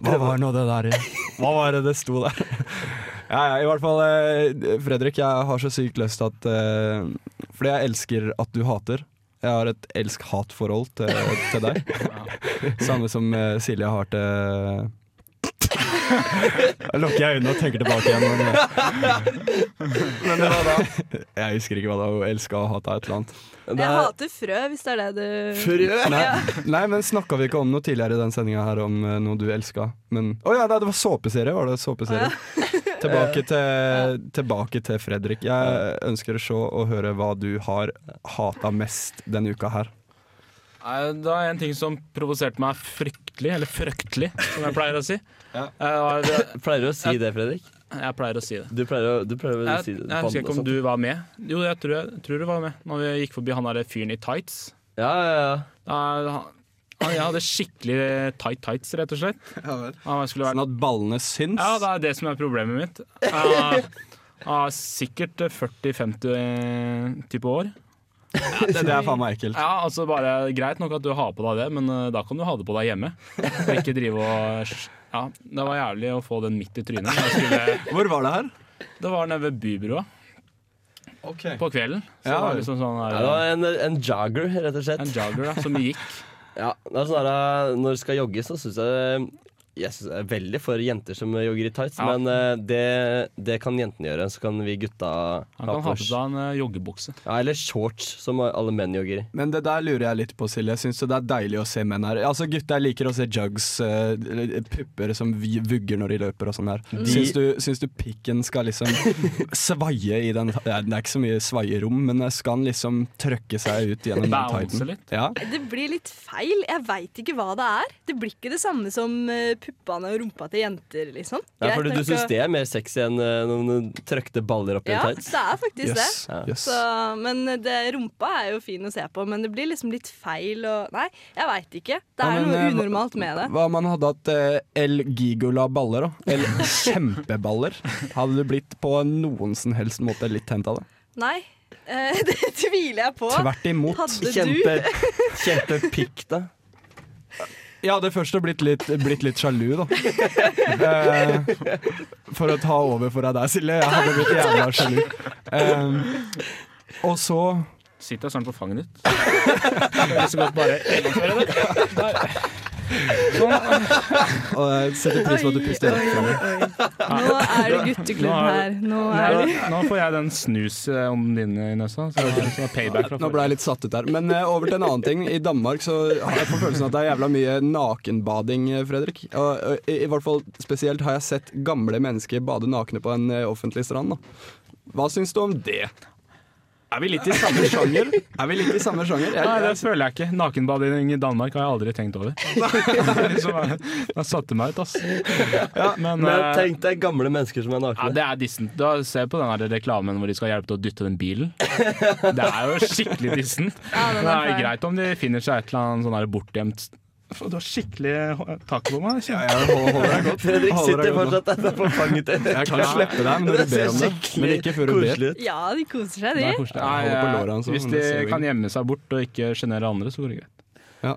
Hva var nå det der igjen? Hva var det det sto der? Ja, ja, i hvert fall, eh, Fredrik, jeg har så sykt lyst til at eh, Fordi jeg elsker at du hater. Jeg har et elsk-hat-forhold til, til deg. Samme som eh, Silje har til Da lukker jeg øynene og tenker tilbake igjen. Men, men det var da Jeg husker ikke hva det var. Hun elska og hata et eller annet.
Det
Jeg
er
hater frø, hvis det er det du
frø!
Nei, nei men snakka vi ikke om noe tidligere i den sendinga her om eh, noe du elska? Men Å ja, nei, det var såpeserie, var det. Såpeserie. tilbake, til, tilbake til Fredrik. Jeg ønsker å se og høre hva du har hata mest denne uka her.
Nei, Det var en ting som provoserte meg fryktelig, eller fryktelig, som jeg pleier å si.
Ja.
Eh, var det-
Pleier du å si det, Fredrik?
Jeg pleier å si det.
Du pleier å, du pleier å
Jeg,
si
jeg
det.
husker ikke om du var med. Jo, jeg tror, jeg tror du var med Når vi gikk forbi han derre fyren i tights.
Ja, ja, ja.
Da- han, han, jeg hadde skikkelig tight tights, rett og slett. Han skulle vært
Sånn at ballene syns.
Ja, det er det som er problemet mitt. Jeg har sikkert 40-50 type år.
det, det er faen meg ekkelt.
Ja, altså bare Greit nok at du har på deg det, men eh, da kan du ha det på deg hjemme. Og ikke drive og Ja, det var jævlig å få den midt i trynet. Jeg skulle,
Hvor var det her?
det var nede ved Bybrua på kvelden. Så
Ja.
det var liksom sånn
Ja, Det
her,
var en, en jogger, rett og slett.
en jogger da, som gikk.
Ja, det er sånn her, eh, Når det skal jogges, så syns jeg jeg synes det er veldig for jenter som jogger i tights.
Ja.
Men eh, det, det kan jentene gjøre. Så kan vi gutta
Han kan ha på
oss-
seg en eh, joggebukse.
ja, Eller shorts, som alle menn jogger i.
Men det der lurer jeg litt på, Silje. Jeg syns det er deilig å se menn her. Altså, Gutter liker å se jugs, eh, pupper som vi- vugger når de løper og sånn her.
Mm.
Syns du, syns du pikken skal liksom svaie i den Nei, Det er ikke så mye svaierom, men skal den liksom trøkke seg ut gjennom den
Bounce
tighten?
litt.
Ja.
Det blir litt feil. Jeg veit ikke hva det er. Det blir ikke det samme som eh, puppene og rumpa til jenter, liksom.
Nei,
Greit,
fordi
jeg
du syns
skal-
det er mer sexy enn eh, noen trøkte baller oppi
Ja,
en tights?
det er faktisk det.
Jøss.
Ja.
jøss.
Så, men det, rumpa er jo fin å se på, men det blir liksom litt feil og Nei, jeg veit ikke. Det
Ja,
er
men,
noe
eh, hva-
unormalt med det.
Hva om man hadde hatt eh, El Gigola-baller, da? Eller kjempeballer? Hadde du blitt på noen som helst måte litt tent av det?
Nei, eh, det tviler jeg på.
Tvert imot.
Hadde du
Kjempe, kjempepikk, da.
Jeg hadde først blitt litt, blitt litt sjalu, da. Eh, for å ta over for deg der, Silje. Jeg hadde blitt jævla sjalu. Eh, og så
Sitter jeg snart på fanget ditt? Kan jeg så godt bare gjennomføre det?
og Jeg eh, setter pris på at du puster rett fra meg.
Nå er det gutteklubb her. Nå er det
Nå, nå får jeg den snus eh, om din i nesa. Så det er- så det er payback.
Nå ble jeg litt satt ut der. Men eh, over til en annen ting. I Danmark så har jeg på følelsen at det er jævla mye nakenbading, eh, Fredrik. Og, og i, I hvert fall spesielt har jeg sett gamle mennesker bade nakne på en eh, offentlig strand. Da. Hva syns du om det? Er vi litt i samme sjanger? Er vi litt i samme sjanger? Jeg,
Nei, det føler jeg ikke. Nakenbading i Danmark har jeg aldri tenkt over. Liksom, Det satte meg ut, ass. Men,
Men
eh,
tenk deg gamle mennesker som er
ja,
nakne.
det er dissent. Da ser jeg på den her reklamen hvor de skal hjelpe til å dytte den bilen. Det er jo skikkelig dissent.
Ja,
Det
den er
er
feil.
greit om de finner seg et eller annet sånn her bortgjemt Du har skikkelig tak på meg. kjenner jeg.
jeg holder, holder deg godt.
Fredrik
Holder deg
sitter
godt nå.
fortsatt der på fanget ditt.
Jeg kan slippe deg når du ber om det, men ikke før du ber.
koselig ut.
Ja, de koser seg,
Det er
de.
koselig.
Jeg holder på låret hans også,
Hvis
men
de
det ser jo
kan
ingen.
gjemme seg bort og ikke sjenere andre, så går det greit.
Ja,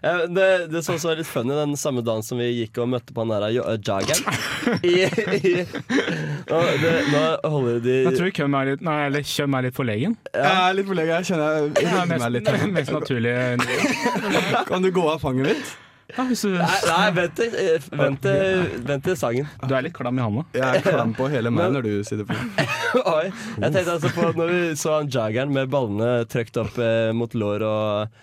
men det, det som også var litt funny, den samme dagen som vi gikk og møtte på han der Jo- eh, Jagan i, i, nå, det, nå holder de
Jeg tror Køm er litt, nei, eller Kjøm er litt forlegen.
Jeg er litt forlegen, jeg kjenner jeg
Det er
rydder meg
mest,
litt. her.
mest naturlig.
Kan du gå av fanget mitt?
Ja, hvis du,
Nei, nei vent, til, eh, vent, til, vent til sangen.
du er litt klam i handa.
Jeg er klam på hele meg
Men-
når du sitter på.
Oi. Jeg tenkte altså på når vi så han Jageren med ballene trøkt opp eh, mot lår og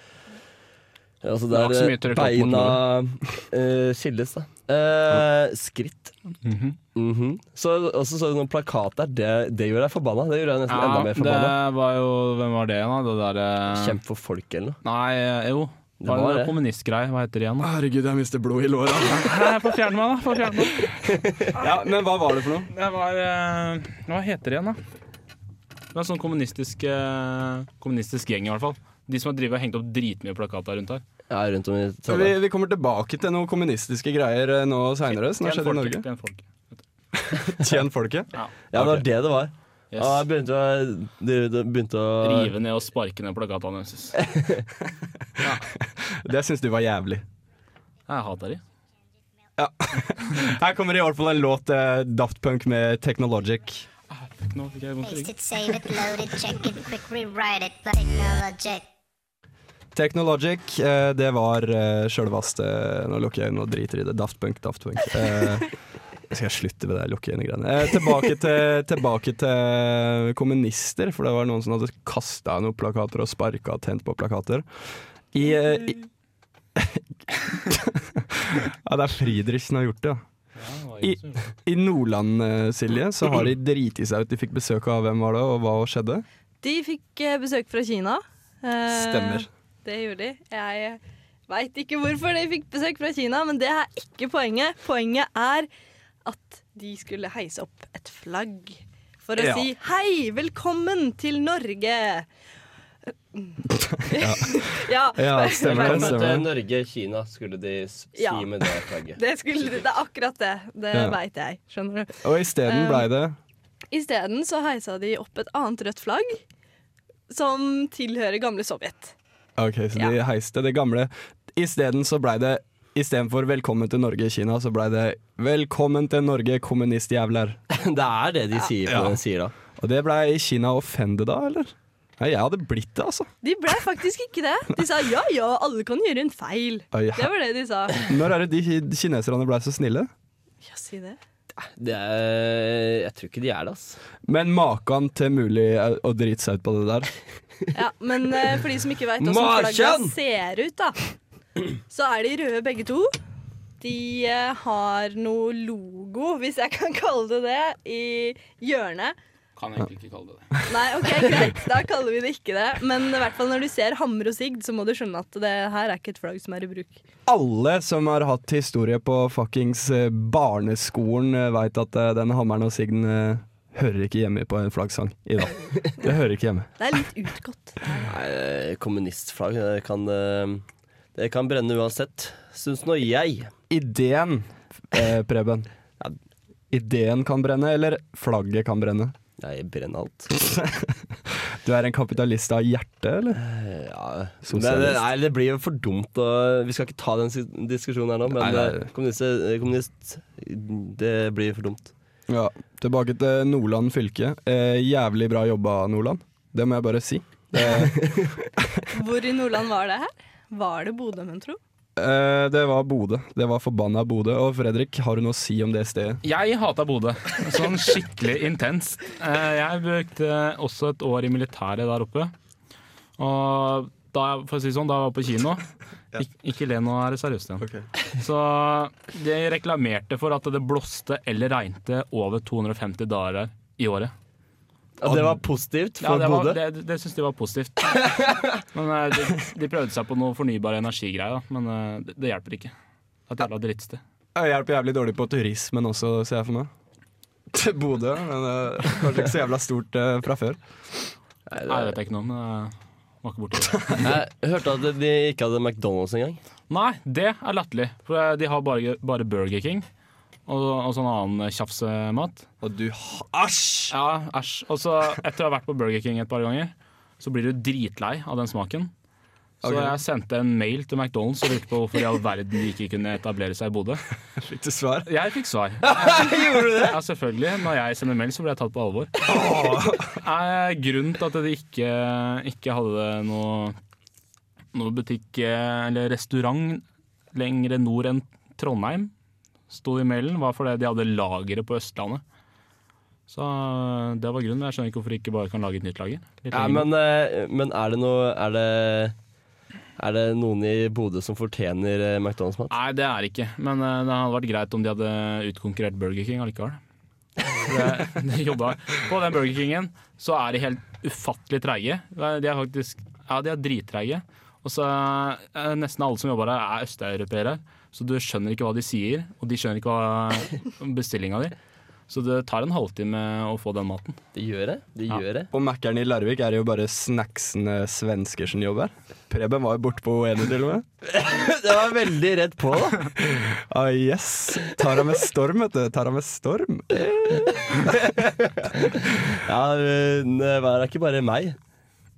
Altså der
var ikke så mye
eh,
trøkt opp mot
beina eh, skilles, da. Eh, skritt. Mhm. Så også så du noen plakat der. Det, det gjorde jeg forbanna. Det gjorde jeg nesten enda mer
det
forbanna.
var jo Hvem var det igjen, da? Det der eh,
Kjemp for folk, eller noe.
Nei, eh, jo.
Det
Var
var
det
det.
kommunistgreie? Hva heter det igjen? da?
Herregud, jeg mister blod i låra.
Nei, Få fjerne meg, da. Få fjerne meg.
Ja, men hva var det for noe?
Det var eh, Hva heter det igjen, da? Det var en sånn kommunistisk, eh, kommunistisk gjeng, i hvert fall. De som har drevet og hengt opp dritmye plakater rundt her.
Ja, rundt om i
Vi,
Trondheim.
vi kommer tilbake til noen kommunistiske greier eh, nå seinere, som har
Tjen
skjedd i
folket,
Norge.
tjen folket.
Tjen folket.
Ja, det var det det var.
Yes.
Og jeg begynte å, de- de begynte å
Rive ned og sparke ned plakatene. jeg synes. Jeg
Det syns du var jævlig.
hater de.
Her kommer i hvert fall en låt eh, Daft Punk med Technologic.
Nå fikk jeg vondt i
Paste
ryggen.
it, save it, load it, check it, quick rewrite it. Technologic.
Technologic, eh, det var eh, sjølvaste Nå lukker jeg øynene og driter i det. Daft Punk, Daft Punk. Eh, skal jeg slutte med det lukke øynene-greiene? Eh, tilbake, til, tilbake til kommunister, for det var noen som hadde kasta noen plakater og sparka og tent på plakater. I, eh, i Ja, det er Friedrichsen har gjort det, ja. I- I Nordland, eh, Silje, så har de driti seg ut. De fikk besøk av hvem var det, og hva skjedde?
De fikk eh, besøk fra Kina. Eh,
Stemmer.
Det gjorde de. Jeg veit ikke hvorfor de fikk besøk fra Kina, men det er ikke poenget. Poenget er at de skulle heise opp et flagg for å
Ja.
si hei, velkommen til Norge.
Ja, stemmer
ja.
det.
Velkommen
Stemmer.
til
det.
Norge, Kina, skulle de s- si
Ja.
med det flagget.
Det, skulle, det er akkurat det. Det
Ja.
vet veit jeg. Skjønner du.
Og isteden blei det
Isteden så heisa de opp et annet rødt flagg som tilhører gamle Sovjet.
Ok, så de heiste det gamle. Isteden så blei det Istedenfor 'Velkommen til Norge, Kina', så blei det 'Velkommen til Norge, kommunistjævler'.
Det er det de sier,
Ja.
på den sier da.
Og det blei Kina offended da, eller? Nei, jeg hadde blitt det, altså.
De ble faktisk ikke det. De sa ja ja, alle kan gjøre en feil.
Oi,
Det var det de sa.
Når er det de ki- kineserne blei så snille?
Ja, si det.
Det er, jeg tror ikke de er det, ass.
Men makan til mulig eh, å drite seg ut på det der.
Ja, men eh, for de som ikke veit åssen
Markjan!
flagga ser ut, da, så er de røde begge to. De eh, har noe logo, hvis jeg kan kalle det det, i hjørnet.
Kan egentlig ikke kalle det det.
Nei, ok, greit, da kaller vi det ikke det. Men i hvert fall når du ser hammer og sigd, så må du skjønne at det her er ikke et flagg som er i bruk.
Alle som har hatt historie på fuckings eh, barneskolen, eh, veit at eh, den hammeren og sigden eh, hører ikke hjemme på en flaggsang i dag. Det hører ikke hjemme.
Det er litt utgått.
Nei, eh, kommunistflagg det kan, eh, det kan brenne uansett, syns nå jeg.
Ideen, eh, Preben.
Ja.
Ideen kan brenne, eller flagget kan brenne.
Jeg brenner alt.
Du er en kapitalist av hjerte, eller?
Eh, Ja. Men
Sosialist.
det, nei, det blir jo for dumt å Vi skal ikke ta den si- diskusjonen her nå, men
Nei, nei.
eh, Kommunist, eh, kommunist Det blir for dumt.
Ja. Tilbake til Nordland fylke. Eh, jævlig bra jobba, Nordland. Det må jeg bare si. Eh,
Hvor i Nordland var det her? Var det Bodø, men tro?
Eh, det var Bodø. Det var forbanna Bodø. Og Fredrik, har du noe å si om det stedet?
Jeg hata Bodø. Sånn skikkelig intenst. Eh, Jeg brukte også et år i militæret der oppe. Og da, jeg- for å si det sånn, da jeg var på kino Ik Ikke le nå, er det seriøst igjen. Så de reklamerte for at det blåste eller regnte over 250 dager i året.
Ja, det var positivt
Ja,
for
det var,
Bodø.
det, det syns de var positivt. Men eh, de, de prøvde seg på noe fornybar energigreier, da. men eh, det, det hjelper ikke. Det er et jævla drittsted.
Jeg hjelper jævlig dårlig på turismen også, ser jeg for meg. Til Bodø, men eh, kanskje ikke så jævla stort eh, fra før.
Nei,
Nei, Jeg
det-
vet ikke noe, men jeg var ikke borti det.
Jeg hørte at de ikke hadde McDonald's engang.
Nei, det er latterlig. For eh, de har bare, bare Burger King og, og sånn annen tjafsemat.
Og du Æsj!
Ja, æsj. Og så etter å ha vært på Burger King et par ganger, så blir du dritlei av den smaken. Så
Ok.
jeg sendte en mail til McDonald's og lurte på hvorfor i all verden de ikke kunne etablere seg i Bodø.
Fikk du svar?
Jeg fikk svar.
Gjorde du det?
Ja, selvfølgelig. Når jeg sender mail, så blir jeg tatt på alvor. Eh, Grunnen til at de ikke, ikke hadde noe, noe butikk eh, eller restaurant lenger nord enn Trondheim, sto i mailen, var fordi de hadde lagre på Østlandet. Så eh, det var grunnen. Jeg skjønner ikke hvorfor de ikke bare kan lage et nytt lager. Litt
Ja,
lenger
men, eh, men er det noe Er det, er det noen i Bodø som fortjener eh, McDonald's-mat?
Nei, det er det ikke. Men eh, det hadde vært greit om de hadde utkonkurrert Burger King allikevel. For Det, det jobba. På den Burger Kingen så er de helt ufattelig treige. De er faktisk Ja, de er drittreige. Og så eh, Nesten alle som jobber der, er østeuropeere. Så du skjønner ikke hva de sier, og de skjønner ikke hva bestillinga di. Så det tar en halvtime å få den maten.
De gjør det. De
Ja.
gjør det.
På Mækkern i Larvik er det jo bare snacksende svensker som jobber. Preben var jo borte på Oene til og med.
Det var veldig rett på, da.
Ah, yes. Tar han med storm, vet du. Tar han med storm.
Ja, men det var ikke bare meg.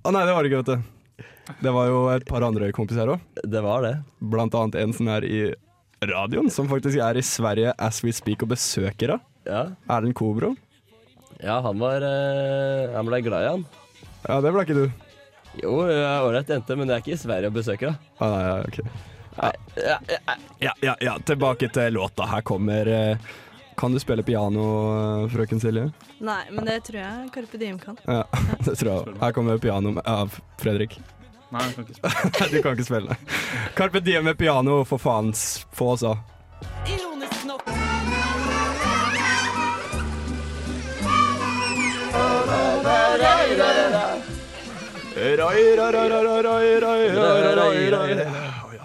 Å nei, det var det ikke, vet du. Det var jo et par andre kompiser her òg.
Det var det.
Blant annet en som er i radioen, som faktisk er i Sverige as we speak og besøker henne.
Ja,
Erlend Kobro.
ja han var eh, Han ble glad i han.
Ja, det ble ikke du.
Jo, jeg er ålreit jente, men jeg er ikke i Sverige og besøker henne.
Ah, nei, ja, ok.
Ja, ja,
Ja, ja, ja, tilbake til låta. Her kommer eh, Kan du spille piano, eh, frøken Silje?
Nei, men det tror jeg Carpe Diem kan.
Ja, det tror jeg. Her kommer piano med- av Fredrik.
Nei, jeg kan ikke spørre.
Nei, Du kan ikke spille. Carpe Diem med piano, for faen. s- Få altså. oss av. Rai, rai, rai, rai, rai, rai, rai, rai, rai, rai.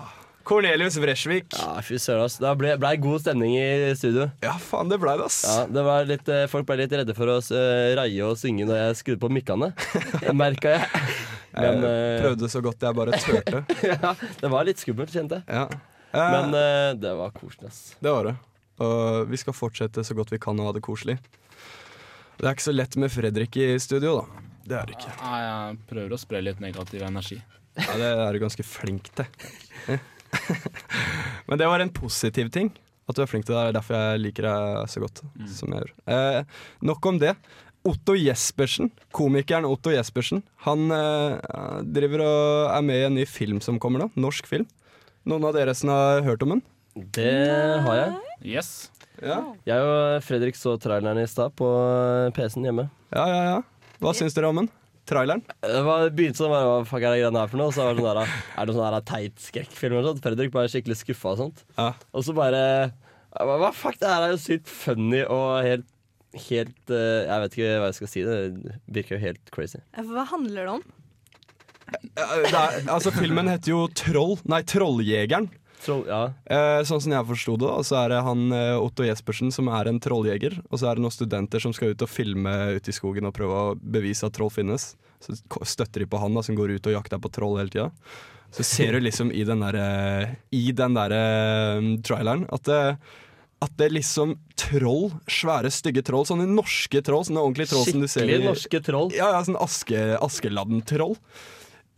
Cornelius Wresvik.
ja fy søren, ass. Det ble, ble god stemning i studio.
Ja, faen, det blei det, ass.
Ja, det var litt, eh, folk ble litt redde for å eh, raie og synge når jeg skrudde på mikkene. Merka jeg. Men
jeg
eh,
prøvde så godt jeg bare turte.
ja, det var litt skummelt, kjente jeg.
Ja.
Men
Men,
eh, det var koselig, ass.
det var det. Og vi skal fortsette så godt vi kan og ha det koselig. Det er ikke så lett med Fredrik i studio, da. Det er det ikke.
Nei, jeg prøver å spre litt negativ energi.
Ja, det er du ganske flink til. Men det var en positiv ting. At du er flink til det. Det er derfor jeg liker deg så godt. Som jeg gjør. Eh, nok om det. Otto Jespersen, komikeren Otto Jespersen, han eh, driver og er med i en ny film som kommer nå. Norsk film. Noen av dere som har hørt om den?
Det har jeg.
Yes.
Ja,
Jeg og Fredrik så traileren i stad på eh, PC-en hjemme.
ja, ja. ja. Hva syns dere om den? Traileren?
Det var begynte sånn, bare, hva fuck er det greiene her for noe? Og så var det sånn der, er det sånn der teit skrekkfilm eller noe sånt? Fredrik ble skikkelig skuffa og sånt.
Ja.
Og så bare jeg bare, Hva fuck, det her er jo sykt funny og helt Helt eh, Jeg vet ikke hva jeg skal si. Det virker jo helt crazy.
Hva handler det om?
Eh, Det er, altså, filmen heter jo Troll. Nei, Trolljegeren.
Troll, ja.
Eh, sånn som jeg forsto det, da, så er det han eh, Otto Jespersen som er en trolljeger. Og så er det noen studenter som skal ut og filme ute i skogen og prøve å bevise at troll finnes. Så k- støtter de på han da, som går ut og jakter på troll hele tida. Så ser du liksom i den derre I den derre eh, traileren at det at det liksom troll, svære, stygge troll, sånne norske troll, sånne ordentlige troll som du ser
Skikkelig norske troll.
ja, ja, sånn aske, Askeladden-troll.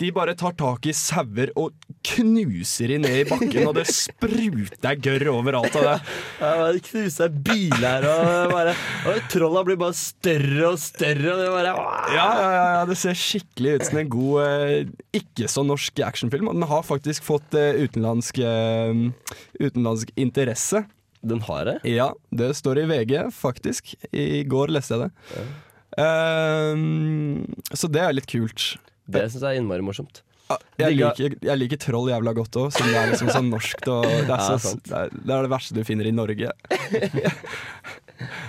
De bare tar tak i sauer og knuser de ned i bakken, og det spruter gørr overalt av det.
Jeg bare knusa biler og bare Og trolla blir bare større og større, og det bare
Ja, ja, ja, ja, Det ser skikkelig ut som en god, eh, ikke så norsk actionfilm. Og den har faktisk fått eh, utenlandsk, eh, utenlandsk interesse.
Den har det?
Ja, det står i VG, faktisk. I går leste jeg det. Ehm, så det er litt kult.
Det syns jeg er innmari morsomt.
Ja, Jeg
Digga-
liker, jeg liker troll jævla godt òg, som det er liksom sånn norskt og det er,
Ja,
så,
sant.
det, er, det er det verste du finner i Norge.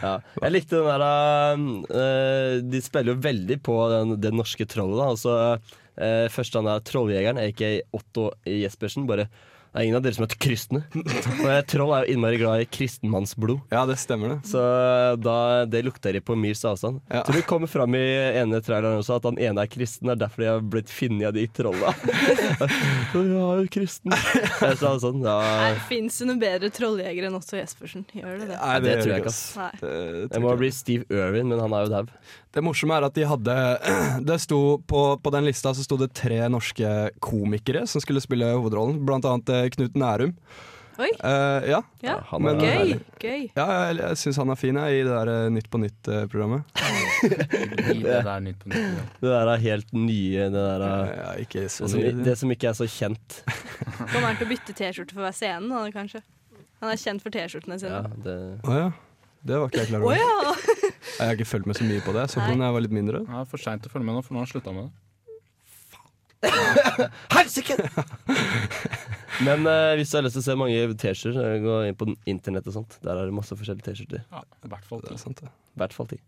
Ja. Jeg likte den der eh, De spiller jo veldig på den, det norske trollet. da Altså, eh, Først han der trolljegeren, aka Otto Jespersen, bare Det er ingen av dere som heter kristne. Og eh, troll er jo innmari glad i kristenmannsblod.
Ja, det stemmer, det.
Så da, det lukter de på mils avstand.
Ja.
Tror du det kommer fram i ene traileren også at han ene er kristen. Det er derfor de har blitt funnet av de trolla. «Å, jeg er jo kristen. Jeg sa sånn, ja,
Fins det noen bedre trolljegere enn Otto Jespersen? Gjør det det?
Nei,
det tror jeg
gjør
ikke,
ass.
Nei.
Det,
det
tror
må
jeg
bli Steve Irwin, men han er jo dau.
Det morsomme er at de hadde det sto på, på den lista så sto det tre norske komikere som skulle spille hovedrollen, blant annet eh, Knut Nærum.
Oi.
Eh, ja.
Ja.
Han er
Men- eh,
Gøy. Gøy.
ja, jeg, jeg syns han er fin jeg, i det der eh, Nytt på nytt-programmet.
I det der nytt på nytt. ja.
Det der er helt nye. Det, der er,
Ja, ikke så mye.
det, som, Altså, det som ikke er så kjent.
Kommer han til å bytte T-skjorte for hver scene, da, kanskje? Han er kjent for T-skjortene
Ja,
sine.
det,
Å ja. Det var ikke jeg klar
Å
over.
ja!
Jeg har ikke fulgt med så mye på det. Så
Nei.
da jeg var litt mindre.
Det er for seint å følge med nå, for nå har han slutta med det.
Helsike! Men eh, hvis du har lyst til å se mange T-skjorter, gå inn på internett og sånt. Der er det masse forskjellige T-skjorter.
Ja, i hvert fall.
Det er sant, det.
I hvert fall ti.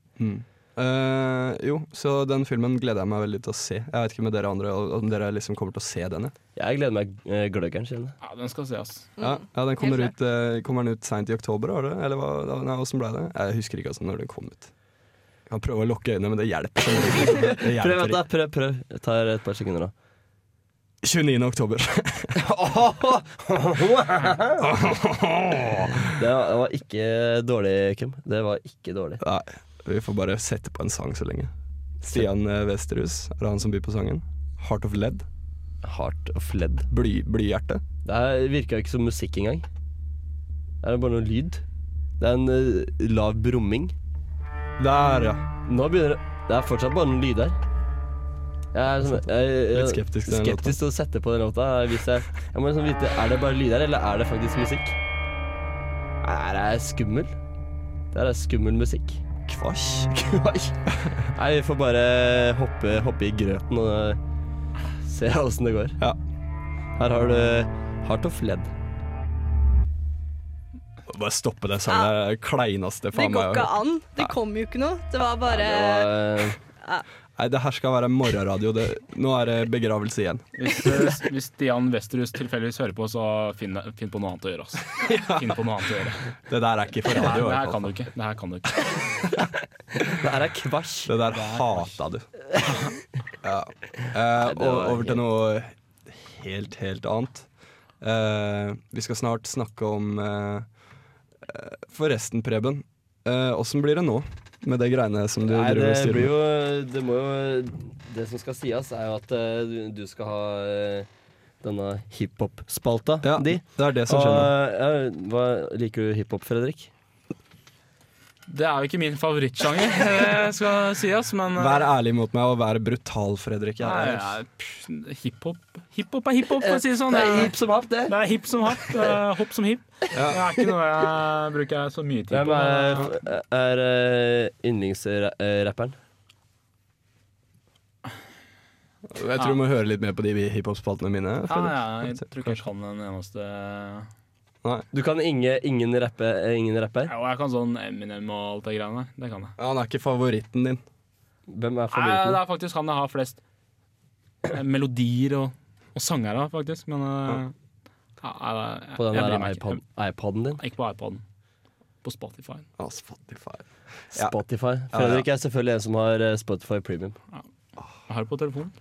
Eh, jo, så den filmen gleder jeg meg veldig til å se. Jeg vet ikke med dere andre om dere liksom kommer til å se den. jeg.
Jeg gleder meg eh, gløggeren, kjenner jeg.
Ja, den skal se, ass.
Ja, ja, den kommer,
Mm. helt
ut, eh, kommer den ut seint i oktober, var det? Eller hva, nei, hvordan ble det? Jeg husker ikke altså, når den kom ut. Jeg kan prøve å lukke øynene, men det hjelper. som regel ikke. Det
Prøv,
hjelper
vent da,
ikke.
prøv, prøv. Jeg tar et par sekunder da.
29. oktober.
Det var, det var ikke dårlig, Kim. Det var ikke dårlig.
Nei, vi får bare sette på en sang så lenge. Stian eh, Westerhus er det han som byr på sangen. Heart of Lead.
Heart of lead.
Bly, blyhjerte.
Det her virka ikke som musikk engang. Er det bare noe lyd? Det er en eh, lav brumming.
Der, ja.
Nå begynner det Det er fortsatt bare noen lyder. Jeg er, sånn, jeg, jeg,
Litt skeptisk til den låta.
skeptisk til å sette på den låta. Hvis jeg, jeg må liksom vite Er det bare lyder, eller er det faktisk musikk? Nei, det er skummel. Det her er skummel musikk.
Kvasj.
Nei, vi får bare hoppe, hoppe i grøten og se åssen det går.
Ja.
Her har du Heart of Lead.
Bare stoppe det sangen. Det er det kleineste
Det
faen meg.
går
jeg
ikke
har hørt.
an. Det kom jo ikke noe. Det var bare
Det var,
Nei, det her skal være morgenradio. Det, nå er det begravelse igjen.
Hvis, eh, hvis Stian Westerhus tilfeldigvis hører på, så finn, finn på noe annet å gjøre, ass. Finn på noe annet å gjøre.
Det der er ikke for
Nei,
radio. i
det
hvert
her
fall.
kan du ikke. Det her kan du ikke.
det her er kvasj.
Det der hata du. ja. Eh,
det var
og over til noe helt, helt annet. Eh, vi skal snart snakke om eh, eh, Forresten, Preben. Eh, Åssen blir det nå med det greiene som du
Nei,
driver
det
og styrer
blir
med?
jo Det må jo Det som skal sies, er jo at eh, du, du skal ha eh, denne hiphop-spalta
Ja,
di.
det er det som
Og
skjer nå.
eh,
ja, hva, liker du hiphop, Fredrik?
Det er jo ikke min favorittsjanger, det skal sies, men eh,
Vær ærlig mot meg, og vær brutal, Fredrik. Jeg
Nei,
er-
ja, pff, Hiphop Hiphop er hiphop, for å si det sånn. Jeg-
hip som happ, det.
Det er hipp som happ. det er Hopp som hipp. Det er ikke noe jeg bruker så mye tid
Hvem
på.
er,
men-
er eh, yndlingsrapperen?
Jeg tror du må høre litt mer på de hiphop-spaltene mine.
Ja,
Fredrik.
ja, jeg tror kanskje han er den eneste
Nei.
Du kan inge, ingen, rappe, eh, ingen rapper?
Ja, og jeg kan sånn Eminem og alt det greiene der. Det kan jeg.
Ja, Han er ikke favoritten din.
Hvem er
Nei, det
favoritten?
er faktisk han jeg har flest eh, melodier og, og sanger av, faktisk. Men eh, ja, jeg, jeg,
På den
jeg
der
bryr meg ikke.
iPod, iPoden din?
Jeg- Ikke på iPoden. På Spotify.
Ja, Spotify. Ja.
Spotify.
Ja,
Fredrik er selvfølgelig en som har eh, Spotify Premium.
Jeg har det på telefonen.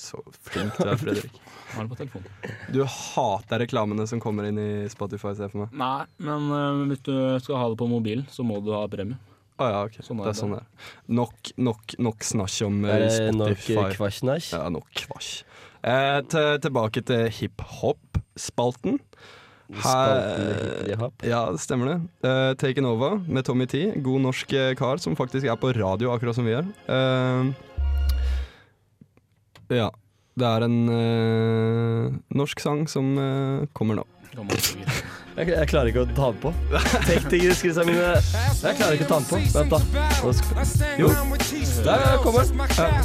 Så flink du er, Fredrik.
Jeg har det på telefonen.
Du hater reklamene som kommer inn i Spotify, ser jeg for meg.
Nei, men eh, hvis du skal ha det på mobilen, så må du ha premie.
Å ja, ok.
Sånn
det
er
er
det.
sånn det er. Nok, nok, nok snasj om eh,
Er det nok
Spotify.
eh, kvasjnasj?
ja, nok kvasj. Eh, til, tilbake til hiphop-spalten.
Spalten
Her-
med hippie hop.
Ja, det stemmer det. Eh, Taken Over med Tommy T. God norsk eh, kar som faktisk er på radio, akkurat som vi er. Eh, ja. Det er en eh, norsk sang som eh, kommer nå.
Kan man ikke vite.
Jeg, jeg klarer ikke å ta den på. Teknikerskrittene mine Jeg klarer ikke å ta den på. Vent, da. Nå skal-
Jo.
Der
Der
kommer den.
kommer den.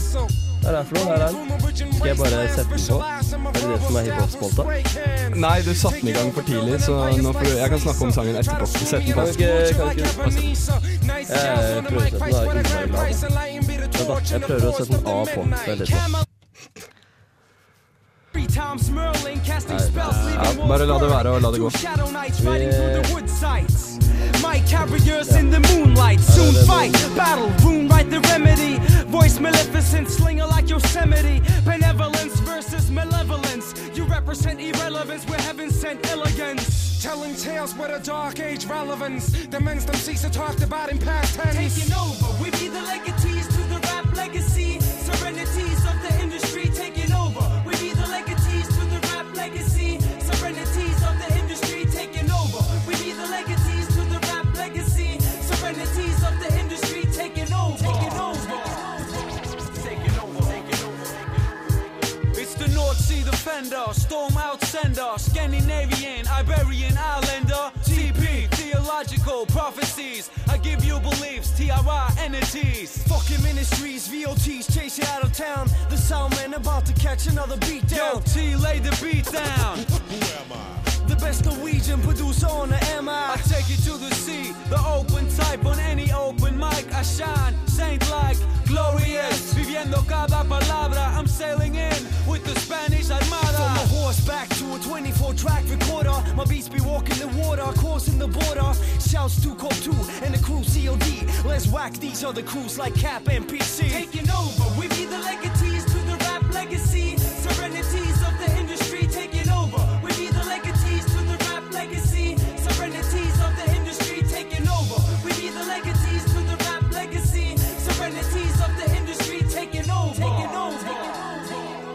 Ja. Hva er det her for noe? Her er den.
Skal jeg bare sette den på? Er det det som er hiphop-spalta?
Nei, du satte den i gang for tidlig, så nå får du, jeg kan snakke om sangen etterpå. Sett den på.
Kan du ikke Kan du ikke
Jeg prøver å sette den, da er det ikke noe
Vent, da. Jeg prøver å sette den av på. Vent litt nå.
ja, bare la det være og la det gå.
My carriers in the moonlight soon fight, battle, wound, right the remedy. Voice maleficent, slinger like Yosemite. Benevolence versus malevolence. You represent irrelevance, we're heaven sent elegance. Telling tales with a dark age relevance. The men's them cease to talk about in past tense. Taking over, we be the legatees to the rap legacy. Serenities of the industry taking over. We be the legatees to the rap legacy. Serenities of the industry taking over. We be the legatees to the rap legacy. Serenities of the industry taking over. Taking over. Taking over. Taking over. It's the North Sea defender, storm outsender, Scandinavian, Iberian islander, TP, theological prophecies. I give you beliefs, TRI entities. Fucking ministries, VOTs, chase it out of town. The sound man about to catch another beat down. Yo, T, lay the beat down. The best Norwegian producer on the MI. I take you to the sea, the open type on any open mic. I shine, saint like, glorious. Viviendo cada palabra, I'm sailing in with the Spanish Armada. From a horseback to a 24 track recorder. My beats be walking the water, crossing the border. Shouts to Cop 2 and the crew COD. Let's wax these other crews like Cap and PC. Taking over, we be the legatees to the rap legacy. Serenities of the industry taking over. We be the legatees to the rap legacy. Serenities of the industry taking over. We be the legatees to the rap legacy. Serenities of the industry taking over. Taking over.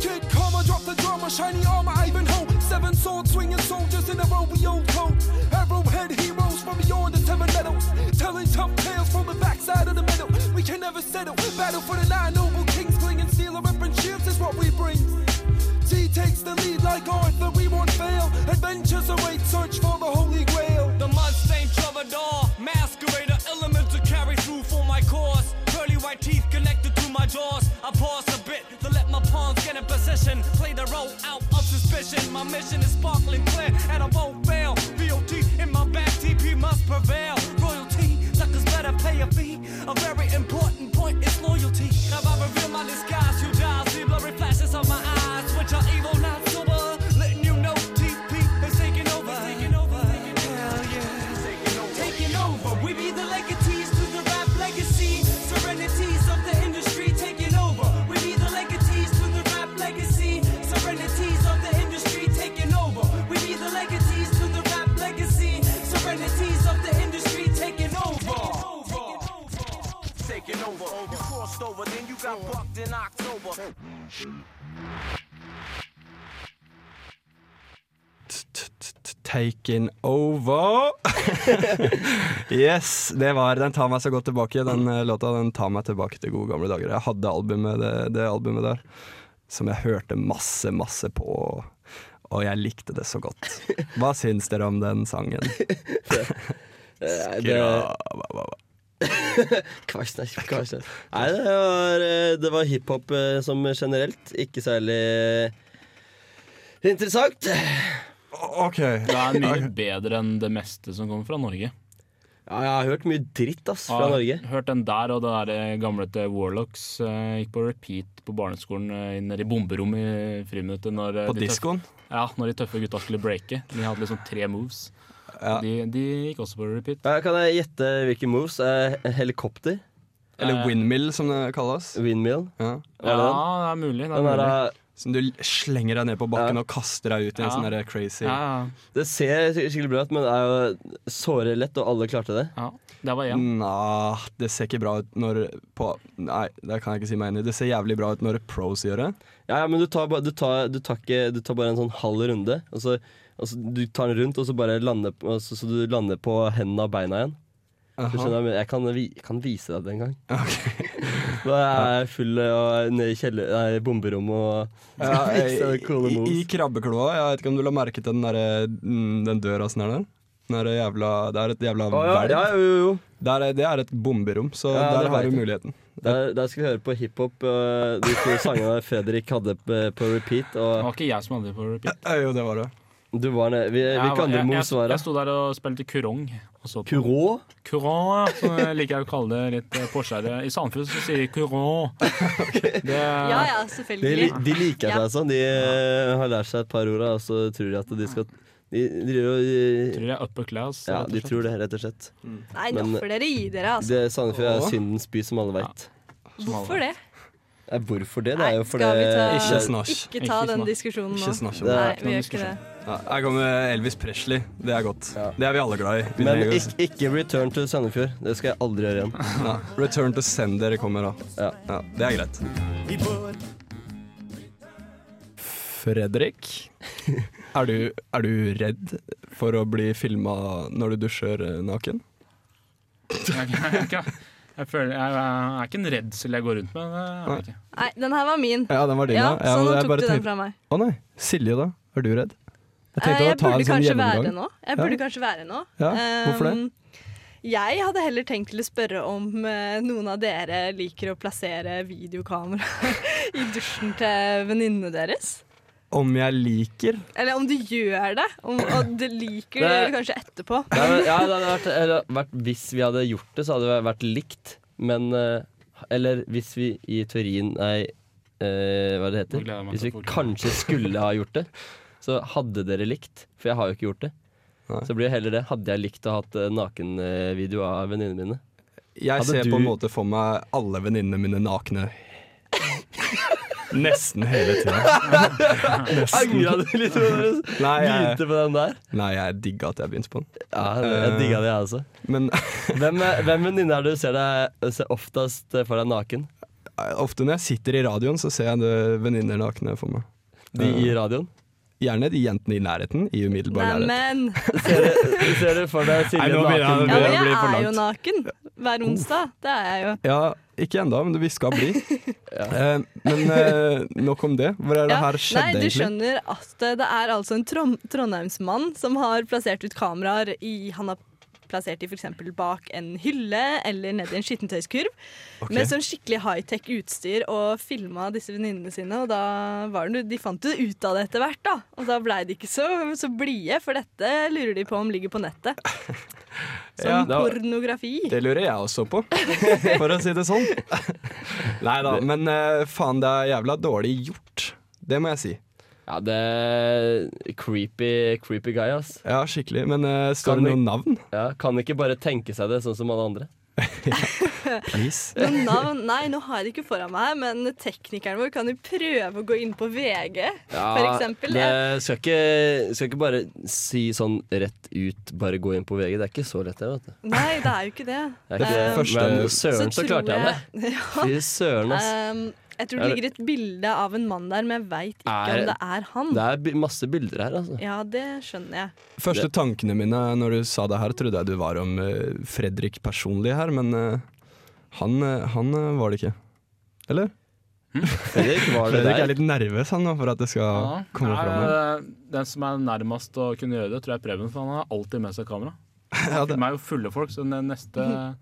Kid Karma, drop the drama, shiny armor, Ivanhoe. Seven sword swinging soldiers in a row, we own coat. Arrowhead heroes from beyond the seven meadows. Telling tough tales from the backside of the meadow. We can never settle. Battle for the nine noble kings, clinging seal of and shields is what we bring. T takes the lead like Arthur, we won't fail. Adventures await, search for the Holy Grail. The mud-stained troubadour, masquerader, elements to carry through for my cause. Pearly white teeth connected to my jaws. I pause a bit to let my pawns get in position. Play the role out of suspicion. My mission is sparkling clear, and I won't fail. VOT in my back, TP must prevail. Royalty, suckers better pay a fee. A very important point is loyalty. Have I revealed my disguise? You die, see blurry flashes of my eyes, which are evil, not sober. Letting you know TP is taking over. Taking over. Hell yeah. Taking over. We be the legatees to the rap legacy. Serenities of the industry taking over. We be the legatees to the rap legacy. Serenities of the industry taking over. We be the legatees to the rap legacy. Serenities of the industry taking over. Taking over. You crossed over, then you got bucked in October.
Taken over. yes, det var Den tar meg så godt tilbake. Den eh, låta den tar meg tilbake til gode gamle dager. Jeg hadde albumet, det, det albumet der som jeg hørte masse, masse på. Og jeg likte det så godt. Hva syns dere om den sangen?
Eh, det-
Skra-
Kvarsnes, kvarsnes. Nei, det var, eh, det var hiphop eh, som generelt. Ikke særlig eh, interessant.
OK.
Det er mye bedre enn det meste som kommer fra Norge.
Ja, jeg har hørt mye dritt ass, fra
Jeg har
Norge.
Hørt den der og det der eh, gamle til Warlocks. eh, Gikk på repeat på barneskolen eh, nede i bomberommet i friminuttet. Når, eh,
På
de tøffe,
diskoen?
ja, når de tøffe gutta skulle breake. De hadde liksom tre moves.
Ja.
De, de gikk også på repeat.
Ja, kan jeg gjette hvilke moves? Eh, helikopter?
Eller
Eh,
windmill, som det kalles.
Windmill?
Ja.
Ja,
Var det den?
det er mulig. Det er
Den
mulig.
der, eh,
Som du l- slenger deg ned på bakken
Ja.
og kaster deg ut i en
Ja.
sånn der crazy
ja, ja.
det ser skik- skikkelig bra ut, men er jo såre lett, og alle klarte det.
Ja, det var én.
Nja, det ser ikke bra ut når på, Nei, det kan jeg ikke si meg enig i. Det ser jævlig bra ut når pros gjør det.
Ja, ja, men du tar, ba- du, tar, du, tar ikke, du tar bare en sånn halv runde, og så, og så du tar den rundt, og så bare lander, på- og så, så du lander på hendene og beina igjen. Du skjønner, hva jeg mener? jeg kan, vi- jeg kan vise deg det en gang. Da er jeg full og nede i kjeller, nei, bomberommet og
Ja,
skal vise
i,
deg coole
i, I
moves.
krabbekloa, jeg vet ikke om du la merke til den, derre- mm, den døra sånn her, den? Den derre jævla, det er et jævla
Å, ja,
hvelv.
ja, jo, jo, jo.
Der er- Det er et bomberom, så
Ja,
der
det
har
vet
du
jeg.
muligheten.
Der, der skal vi høre på hiphop. øh, De to sangene Fredrik hadde p- på repeat.
Det
Og
var ikke jeg som hadde det på repeat.
Ja, jo, det var det.
Du var nede Vi, vi
Jeg var-
kan jo
jeg- jeg-
mosvare.
Jeg sto der og spilte kurong. og så på-
Kurå?
Kurå, som jeg liker jeg å kalle det litt eh, påskjære. I Sandefjord så sier de kurå. Det,
Ja ja,
De,
selvfølgelig.
li- de liker
Ja.
seg sånn. De eh, har lært seg et par ord, og så tror de at de skal De driver
Tror
og
jeg er upper class.
Ja,
rett og
de
slett.
tror det, rett og slett.
Nei, nå
men-
får dere gi dere, altså.
Det Sandefjord er syndens by, som alle veit.
Hvorfor det?
Nei, Hvorfor det? Det er
Nei,
jo fordi
skal vi ta-
Ikke snakk.
Ikke ta
Ikke
den
snakk.
diskusjonen
Ikke
nå.
snakk om
Det
det.
Nei,
er
vi gjør ikke det.
Ja, her kommer Elvis Presley. Det er godt.
Ja.
Det er vi alle glad i. Vi
Men
trenger å-
altså.
ikke, ikke return to Sandefjord. Det skal jeg aldri gjøre igjen.
Nei. Return to send dere kommer da.
Ja.
Ja, det er greit. Fredrik, er du, er du redd for å bli filma når du dusjer eh, naken?
Jeg, jeg, jeg, jeg, føler, jeg, jeg er ikke en redsel jeg går rundt med. Det er jeg ikke.
Nei, den her var min.
Ja, den var din,
Ja,
ja.
så
men
nå
jeg
tok
bare
du den
tenkte-
fra meg.
Å nei. Silje, da? Er du redd? Jeg
Eh,
tenkte å
Jeg
ta
burde
en sånn
kanskje være
gjennomgang.
nå. Jeg
Ja.
burde kanskje være nå.
Ja, hvorfor det?
Um, Jeg hadde heller tenkt til å spørre om eh, noen av dere liker å plassere videokamera i dusjen til venninnene deres.
Om jeg liker
Eller om du gjør det, om, og det liker du
Nei.
gjør det kanskje etterpå.
Nei, men, ja, det hadde vært, eller, vært Hvis vi hadde gjort det, så hadde det vært likt. Men eh, Eller hvis vi i teorien Nei, eh, hva det
Nå gleder
heter?
jeg meg
Hvis
til
vi
å forklare.
kanskje skulle ha gjort det, så hadde dere likt. For jeg har jo ikke gjort det.
Nei.
Så blir det heller det. Hadde jeg likt å ha hatt eh, nakenvideo av venninnene mine?
Jeg
Hadde
ser
du-
på en måte for meg alle venninnene mine nakne. Nesten hele tida.
Angra du litt på det?
Nei, jeg,
Begynte på den der?
nei, jeg digga at jeg begynte på den. Eh,
Ja, jeg digga det, jeg også.
Men
Hvem, eh, hvem venninne er det du ser deg ser oftest for deg naken?
ofte når jeg sitter i radioen, så ser jeg det venninner nakne for meg.
De i radioen?
Gjerne de jentene i nærheten. I umiddelbar nærhet.
Neimen
Ser du for deg Silje
Nei, nå begynner
naken?
jeg-
Ja, men jeg
blir for
er jo
langt.
naken hver onsdag. Det er jeg jo.
Ja, ikke ennå, men vi skal bli. Eh, men eh, nok om det. Hvor er det
Ja.
her skjedde,
Nei, du
egentlig?
skjønner at det- det er altså en trom trondheimsmann som har plassert ut kameraer i Han har plassert de f.eks. bak en hylle eller nedi en skittentøyskurv med sånn skikkelig high-tech utstyr og filma disse venninnene sine. Og da var det, de fant jo ut av det etter hvert, da. Og da blei de ikke så, så blide, for dette lurer de på om ligger på nettet. Som
Ja, da-
pornografi.
Det lurer jeg også på, for å si det sånn. Nei da, men eh, faen, det er jævla dårlig gjort. Det må jeg si.
Ja, det er creepy, creepy guy, ass.
Ja, skikkelig. Men eh, står
Kan
det
vi-
noen navn?
Ja, kan ikke bare tenke seg det sånn som alle andre.
Please.
Noen navn? Nei, nå har jeg det ikke foran meg, her, men teknikeren vår kan jo prøve å gå inn på VG, for eksempel.
det skal ikke, skal ikke bare si sånn rett ut, bare gå inn på VG. Det er ikke så lett, det, vet du.
Nei, det er jo ikke det.
Det er ikke
Eh,
det.
Første-
Men søren, så,
tror
klarte jeg det.
jeg- Ja.
Fy søren, ass.
Um, jeg tror det
Er det-
ligger et bilde av en mann der, men jeg veit ikke
Er-
om det er han.
Det er bi- masse bilder her, altså.
Ja, det skjønner jeg.
Første tankene mine når du sa det her, trodde jeg du var om eh, Fredrik personlig her, men eh, han, eh, han eh, var det ikke. Eller?
Fredrik, var det
Fredrik er
der?
litt nervøs han nå for at det skal
Ja.
komme
Nei,
fram. her.
det- Den som er nærmest å kunne gjøre det, tror jeg er Preben, for han har alltid med seg kamera.
Ja,
De
det,
er jo fulle folk, så det neste, neste
Mhm.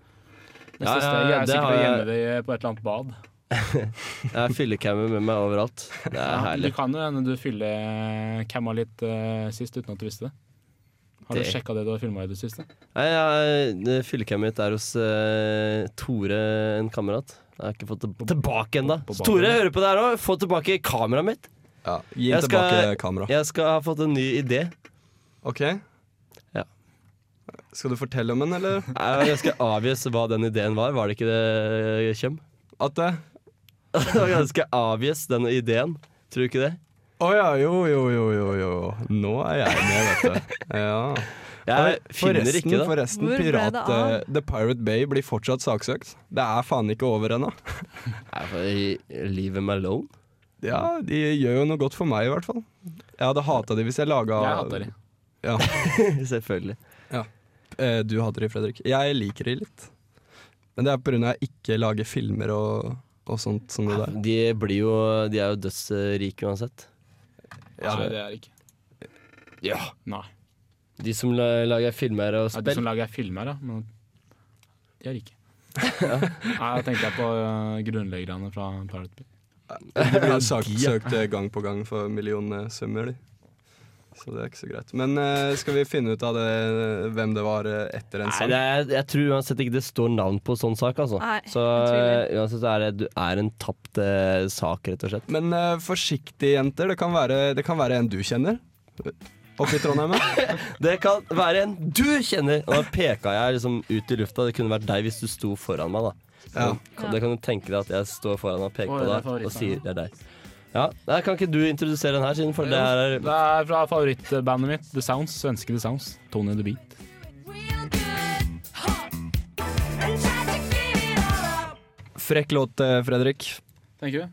Ja, ja,
steg
ja,
er
det har
sikkert å
jeg-
gjemme det på et eller annet bad.
Jeg har fyllecammer med meg overalt. Det er
Ja, du
herlig.
kan jo hende du fyller camma litt eh, sist uten at du visste det. Har du
Det-
sjekka det du har filma i det siste?
Nei, jeg- det Fyllecamet mitt er hos eh, Tore, en kamerat. Jeg har ikke fått det tilbake ennå.
på banen.
Tore, hører du på det her òg? Få tilbake kameraet mitt!
ja. Gi
Jeg
ham
skal-
tilbake kameraet.
Jeg skal ha fått en ny idé.
OK?
Ja.
Skal du fortelle om den, eller?
Jeg var ganske obvious hva den ideen var. Var det ikke det, Kjøm?
At det
Det var ganske obvious, den ideen. Tror du ikke det?
Å ja, jo, jo, jo, jo, jo. Nå er jeg med, vet du. Ja.
Jeg
Og
finner ikke det.
Forresten,
Hvor ble det
pirat,
av?
eh, The Pirate Bay blir fortsatt saksøkt. Det er faen ikke over ennå.
Nei, for i- Leave him alone.
Ja, de gjør jo noe godt for meg, i hvert fall. Jeg hadde hata de hvis jeg laga
Jeg hater det.
Ja.
Selvfølgelig.
Eh, Du hater de, Fredrik. Jeg liker de litt. Men det er på grunn av jeg ikke lager filmer og, og sånt som det der.
De, blir jo, de er jo dødsrike uansett.
Ja,
Nei,
det-
det er ikke.
Ja.
Nei.
De som la- lager filmer og
Ja, de
spill.
som lager filmer, da. Men de er rike. Nei, da tenkte jeg på uh, grunnleggerne fra Pirate Bay.
De blir jo saksøkt eh, gang på gang for millionsummer, de. Så det er ikke så greit. Men eh, skal vi finne ut av det, hvem det var eh, etter en
Nei,
sang?
det er, jeg tror uansett ikke det står navn på sånn sak, altså.
Nei, jeg
så
tviler.
eh, uansett så er det du er en tapt eh, sak, rett og slett.
Men eh, forsiktig, jenter. Det kan, være, det kan være en du kjenner oppe i Trondheim. ja.
Det kan være en du kjenner! Og da peka jeg liksom ut i lufta. Det kunne vært deg hvis du sto foran meg, da.
Ja.
Kan- Det kan du tenke deg at jeg står foran og peker
Oi,
på
det er
deg og
favoritten,
sier det er deg. Ja, nei, Kan ikke du introdusere den her, siden for det er
Det er fra favorittbandet mitt, The Sounds. Svenske The Sounds. Tony the Beat.
Frekk låt, eh, Fredrik.
Tenker du?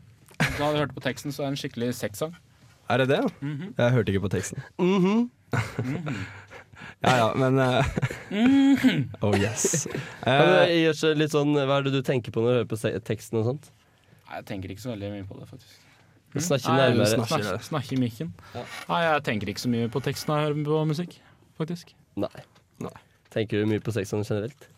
Da har du hørt på teksten, så er det en skikkelig sexsang.
Er det det? Jeg hørte ikke på teksten.
Mhm.
Ja ja, men eh,
Mhm.
Oh yes.
Kan
Eh,
du gjøre så litt sånn Hva er det du tenker på når du hører på se- teksten og sånt?
Nei, jeg tenker ikke så veldig mye på det, faktisk.
Snakke
Nei,
nærmere.
snakker
Snakke
dere.
snakke i mikken. Nei, jeg tenker ikke så mye på teksten når jeg hører på musikk, faktisk.
Nei.
Nei.
Tenker du mye på sex sånn generelt?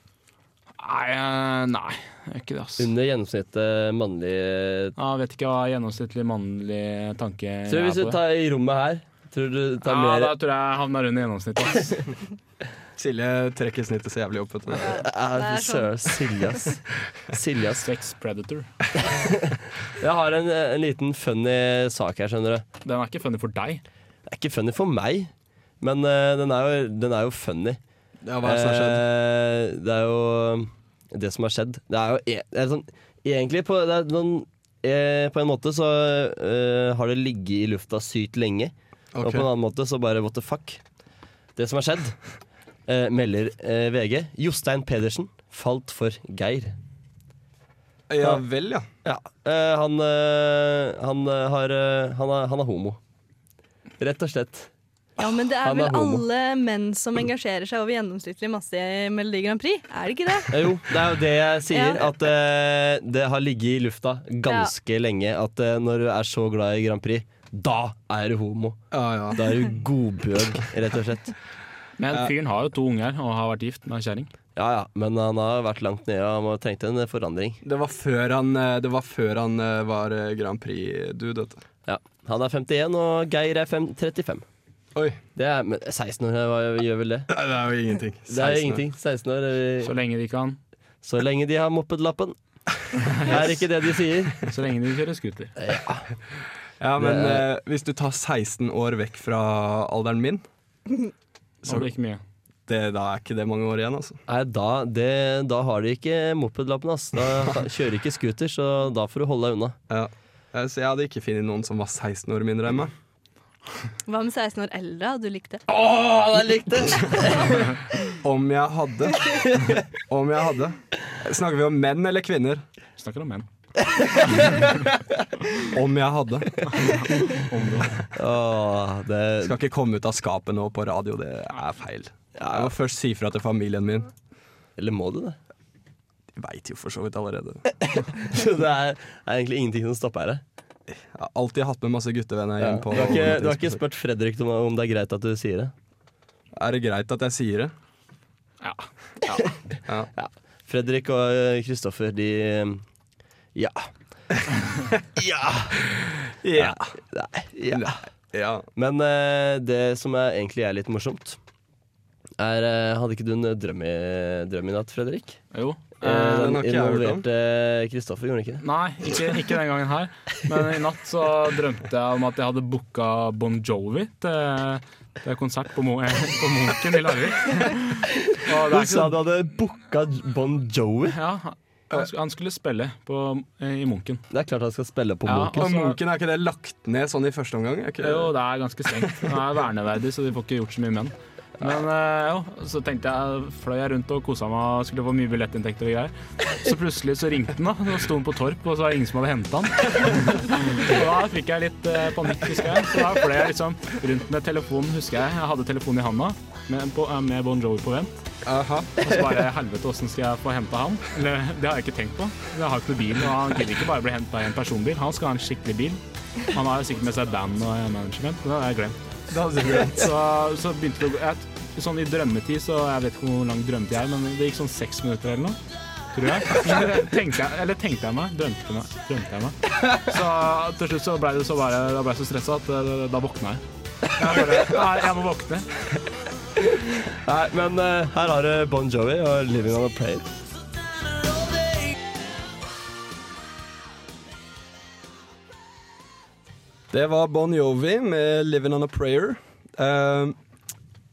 Nei, eh, nei, jeg gjør ikke det, ass.
Under gjennomsnittet mannlig
Ja, Jeg vet ikke hva gjennomsnittlig mannlig tanke
Tror du hvis du
er på det.
tar i rommet her Tror du tar
Ja,
mer
da tror jeg jeg havner under gjennomsnittet, ass.
Silje trekker snittet så jævlig opp. Vet du.
Er
Det er
du søren, Silje, ass. Silje, ass.
Sex Predator.
Jeg har en, eh, en liten funny sak her, skjønner du.
Den er ikke funny for deg.
Det er ikke funny for meg, men eh, den, er jo, den er jo funny.
Ja, hva er det som har skjedd?
Eh, det er jo det som har skjedd. Det er jo e det er sånn, egentlig på, det er noen, eh, på en måte så eh, har det ligget i lufta sykt lenge. Og
Ok.
på en annen måte så bare what the fuck. Det som har skjedd, eh, melder eh, VG. Jostein Pedersen falt for Geir.
Ja vel, ja.
Ja, eh, han, eh, han, eh, har, eh, han, er, han er homo. Rett og slett.
Ja, men det er
Han er
vel
homo.
alle menn som engasjerer seg over gjennomsnittlig masse i Melodi Grand Prix? Er det ikke det?
Eh, jo, det er jo det jeg sier.
Ja.
At eh, det har ligget i lufta ganske lenge at eh, når du er så glad i Grand Prix, da er du homo.
ja, ja.
Da er du godbjørg, rett og slett.
Men fyren har jo to unger og har vært gift med ei kjerring.
Ja ja, men han har vært langt nede og han trengte en forandring.
Det var før han, eh, det var, før han eh, var eh, Grand Prix-dude. vet du.
Ja, Han er 51, og Geir er fem- 35.
Oi.
Det er, men 16 år hva gjør vel det?
Nei, det er jo ingenting.
Det er
16 år.
jo ingenting. 16 år er
Så lenge de kan.
Så lenge de har mopedlappen. Er ikke det de sier?
Så lenge de kjører scooter.
Ja, men
Det er-
eh, hvis du tar 16 år vekk fra alderen min,
Så det er ikke mye.
det, da er ikke det mange år igjen, altså.
Nei, da, det, da har de ikke mopedlappen, ass. Da kjører de ikke scooter, så da får du holde deg unna.
Ja. Eh, Så jeg hadde ikke funnet noen som var 16 år mindre enn meg.
Hva med 16 år eldre? Hadde du likt det?
Å, jeg likte det!
Om jeg hadde. Om jeg hadde. Snakker vi om menn eller kvinner?
Vi Snakker om menn.
Om jeg hadde.
Om det.
Å, det
Skal ikke komme ut av skapet nå på radio, det er feil. Jeg må først si fra til familien min.
Eller må du det?
De veit jo for så vidt allerede.
Så det er, er egentlig ingenting som stopper her.
Jeg har alltid hatt med masse guttevenner
Ja.
hjem
Du,
på
har ikke, du har ikke spurt Fredrik om, om det er greit at du sier det?
Er det greit at jeg sier det?
Ja.
Fredrik og eh, Kristoffer, de eh, Ja. Ja!
Ja.
Nei. Ja.
ja.
Men eh, det som er, egentlig er litt morsomt er, eh, Hadde ikke du en drøm i, drøm i natt, Fredrik?
Jo.
Eh,
Eh, den
den
har ikke jeg hørt om.
involverte Kristoffer, gjorde han ikke det?
Nei, ikke, ikke den gangen her. Men i natt så drømte jeg om at jeg hadde booka Bon Jovi til, til konsert på, Mo eh, på Munken i Larvik. Og det er
Du
ikke
sa
sånn-
du hadde booka Bon Jovi.
Ja, han, sk- han skulle spille på, eh, i Munken.
Det er klart han skal spille på
Ja,
Munken.
Og
Altså-
Munken, er ikke det lagt ned sånn i første omgang? Er ikke...
Jo, det er ganske strengt. Det er verneverdig, så de får ikke gjort så mye med den. Men eh, jo, så tenkte jeg, fløy jeg rundt og kosa meg og skulle få mye billettinntekter og greier. Så plutselig så ringte den, da. Så sto den på Torp, og så var det ingen som hadde henta den. Og da fikk jeg litt eh, panikk, husker jeg. Så da fløy jeg liksom rundt med telefonen, husker jeg. Jeg hadde telefonen i handa med, på, eh, med Bon Jovi på vent.
Aha.
Og så bare helvete, åssen skal jeg få henta han? Eller, det har jeg ikke tenkt på. Jeg har ikke noe bil, og han gidder ikke bare bli henta i en personbil. Han skal ha en skikkelig bil. Han har jo sikkert med seg band og management. Det har jeg glemt.
Det hadde du greit.
Så, så begynte det å gå jeg, Sånn i drømmetid, så jeg vet ikke hvor lang drømmetid jeg er, men det gikk sånn seks minutter eller noe. Tror jeg. Tenkte jeg eller tenkte jeg meg? Drømte, meg, drømte jeg meg? Så til slutt så ble det så bare, da ble jeg så stressa at eh, da våkna jeg. Nei, jeg må våkne.
Nei, men eh, her har du Bon Jovi og 'Living On A Prayer'.
Det var Bon Jovi med 'Living On A Prayer'. Eh,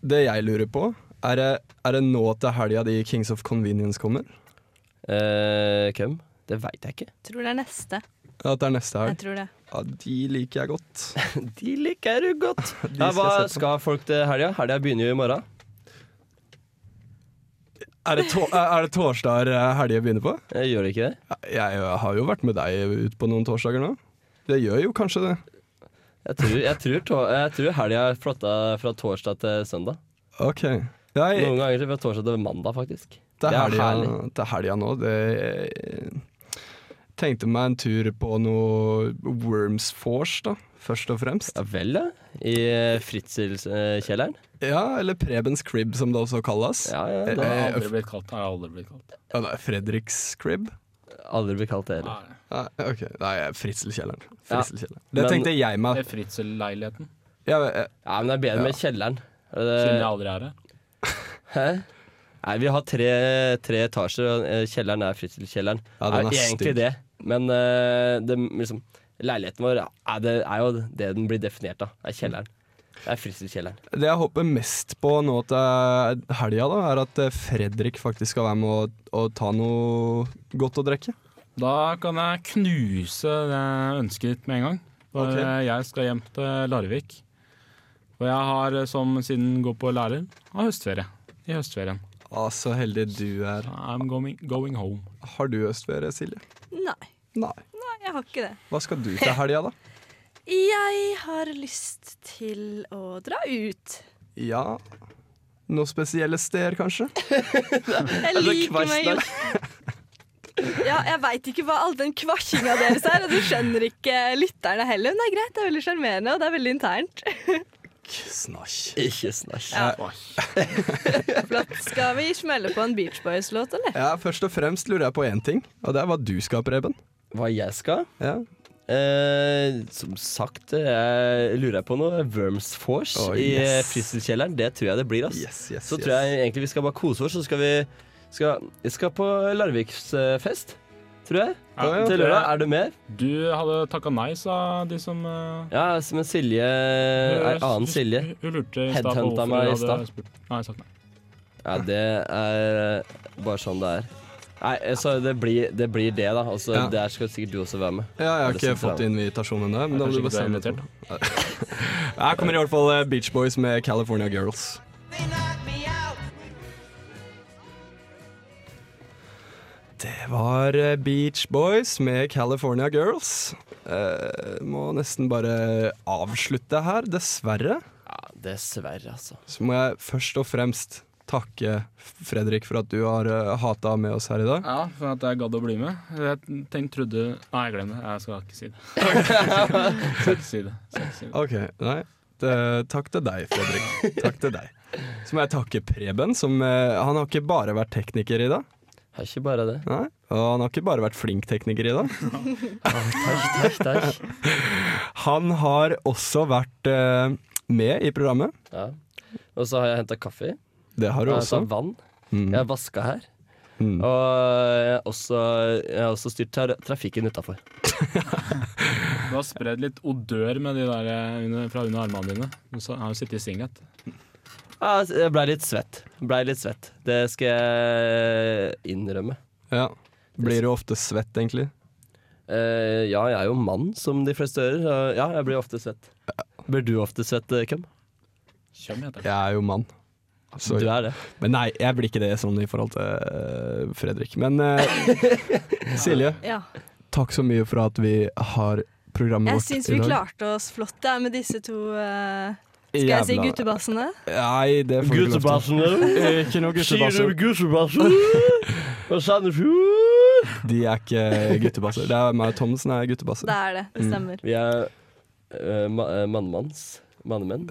det jeg lurer på, er det, er det nå til helga de Kings of Convenience kommer?
Eh, hvem? Det veit jeg ikke.
Tror det er neste.
At det er neste
Jeg
helg?
tror det.
Ja, de liker jeg godt.
De liker du godt.
De
Ja,
skal
hva
se på.
skal folk til helga? Helga begynner jo i morgen.
Er det, to er det torsdag helga begynner på?
Eh, Gjør det ikke det?
Jeg har jo vært med deg ut på noen torsdager nå. Det gjør jo kanskje det.
Jeg tror, jeg tror, to- jeg tror helga er flytta fra torsdag til søndag.
OK. Jeg,
Noen ganger fra torsdag til mandag, faktisk.
Til
Det er
helga,
herlig.
til helga nå det, Tenkte meg en tur på noe Worms Force, da. Først og fremst.
Ja vel, ja. I eh, fritzelskjelleren.
Ja, eller Prebens Crib, som det også kalles.
Ja, ja.
Eh,
Det
Jeg har
eh,
aldri blitt kalt. Jeg har aldri blitt kalt.
Ja, det er Fredriks Crib.
har aldri blitt kalt det heller.
Nei,
Nei, ok. Nei, Fritzelkjelleren.
Ja.
Fritzelkjelleren. Det
Men-
tenkte jeg
Det
meg.
er fritzelleiligheten.
Ja, eh,
Ja, men det er bedre med kjelleren. Er
Siden jeg
det-
aldri er her.
Hæ? Nei, vi har tre, tre etasjer, og eh, kjelleren er fritzelkjelleren.
Ja, den er
egentlig
stygg.
det, men eh, det, liksom, leiligheten vår er, det, er jo det den blir definert av. er kjelleren. Det er fritzelkjelleren.
det jeg håper mest på nå til helga, da, er at eh, Fredrik faktisk skal være med og, og ta noe godt å drikke.
Da kan jeg knuse det ønsket ditt med en gang. For
Ok.
eh, jeg skal hjem til Larvik. Og jeg har, eh, som siden går på lærer, har høstferie. I høstferien.
Å, så heldig du er.
I'm going, going home.
Har du høstferie, Silje?
Nei,
Nei.
nei, jeg har ikke det.
Hva skal du til helga, da?
Jeg har lyst til å dra ut.
Ja Noen spesielle steder, kanskje?
Jeg
Altså,
liker meg jo ja, Jeg veit ikke hva all den kvasjinga deres er, og det skjønner ikke lytterne heller. Men det er greit, det er veldig sjarmerende, og det er veldig internt.
Snasj.
Ikke snakk.
Flott. Skal vi smelle på en Beach Boys-låt, eller?
Ja, først og fremst lurer jeg på én ting, og det er hva du skal, Preben.
Hva jeg skal?
Ja.
Eh, som sagt, jeg lurer på noe Worms Force
Å,
i eh,
yes.
fritzelkjelleren. Det tror jeg det blir. ass.
Yes, yes,
Så
yes.
tror jeg egentlig vi skal bare kose oss, så skal vi skal, jeg skal på Larviksfest, tror jeg.
Ja, ja,
Til lørdag. Er du med?
Du hadde takka nei, sa de som eh,
Ja, men Silje er Eh, annen
hun-
Silje.
Hun, hun lurte i stad på
Headhunta
hvorfor
meg i
jeg hadde
stad.
spurt. Nei, jeg sa nei.
Ja, det er bare sånn det er. Nei, så det blir det, blir det da. Altså,
Ja.
Der skal sikkert du også være med.
Ja, jeg
Er
har
det
ikke
sant,
fått
da?
invitasjon ennå. Men da må du
Kanskje ikke
bare
du er
sende det.
invitert. da.
Her kommer i hvert fall eh, Beach Boys med California Girls. Det var eh, Beach Boys med California Girls. Eh, må nesten bare avslutte her, dessverre.
Ja, Dessverre, altså.
Så må jeg først og fremst takke Fredrik for at du har uh, hata med oss her i dag.
Ja, for at jeg gadd å bli med. Jeg tenkte, trodde Nei, glem det. Jeg skal ikke si det. skal ikke si det. Skal ikke si det.
Ok, nei. Det- takk til deg, Fredrik. Takk til deg. Så må jeg takke Preben, som eh, Han har ikke bare vært tekniker i dag.
Det er ikke bare det.
Nei. Og han har ikke bare vært flink tekniker i dag.
Takk, takk, takk.
Han har også vært eh, med i programmet.
Ja. Og så har jeg henta kaffe.
Det har
Jeg
du
har
også.
hentet vann.
Mm.
Jeg har vaska her.
Mm.
Og jeg har også, jeg har også styrt tra trafikken utafor.
Du har spredd litt odør med de der eh, under, fra under armene dine. Du sa- har jo sittet i singlet.
Ja, altså, jeg blei litt svett. Blei litt svett. Det skal jeg innrømme.
Ja. Blir du ofte svett, egentlig?
Eh, ja, jeg er jo mann, som de fleste hører. og Ja, jeg blir ofte svett. Blir du ofte svett, eh, Kem?
Kjøm, heter det.
Jeg er jo mann. Så,
Du er det.
Men nei, jeg blir ikke det sånn i forhold til eh, Fredrik. Men eh, Silje,
Ja.
takk så mye for at vi har programmet
Jeg
vårt
syns
i
vi
dag.
klarte oss flart der med disse to eh, Skal jeg si
Jævla-
guttebassene?
Nei, det får du ikke lov til. Eh, Ikke noe guttebasser.
guttebassen? Og Sandefjord?
De er ikke guttebasser. Det er meg og Thomsen er guttebasser.
Det er det. Det
Mm.
stemmer.
Vi er eh, ma eh, mannmanns. Mannemenn.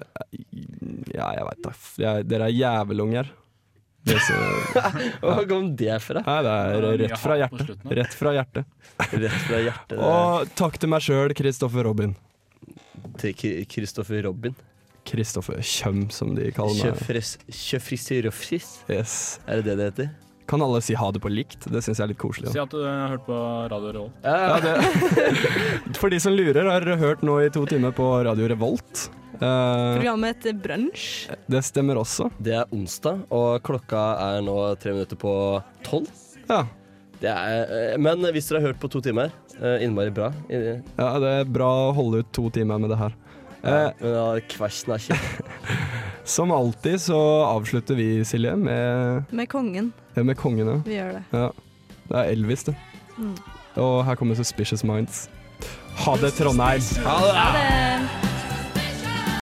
Ja, jeg veit da. f- jeg- Dere er jævelunger. Det så-
Hvor kom det fra?
Nei, det er
Det var mye
rett fra
hat på
hjertet.
slutten, da.
Rett fra hjertet.
Rett fra hjertet
Og takk til meg sjøl, Kristoffer Robin.
til Kristoffer Robin.
Kristoffer Kjøm, som de kaller meg.
Kjøfrisyrofris,
Yes.
er det det det heter?
Kan alle si ha det på likt? Det syns jeg er litt koselig.
Si
Da.
at du eh, har hørt på Radio Revolt.
Ja, det
For de som lurer, har dere hørt nå i to timer på Radio Revolt. Eh,
Programmet heter Brunch.
det stemmer også.
Det er onsdag, og klokka er nå tre minutter på tolv.
Ja.
Det er, eh, men hvis dere har hørt på to timer, eh, innmari bra. I-
ja, det er bra å holde ut to timer med det her. Eh,
Men ja, kversen er kjip.
som alltid så avslutter vi, Silje, med, eh,
Med kongen.
med kongene.
Vi gjør det.
Ja. Det er Elvis, det.
Mm.
Og her kommer Suspicious Minds. Ha det, Trondheim!
Ha det!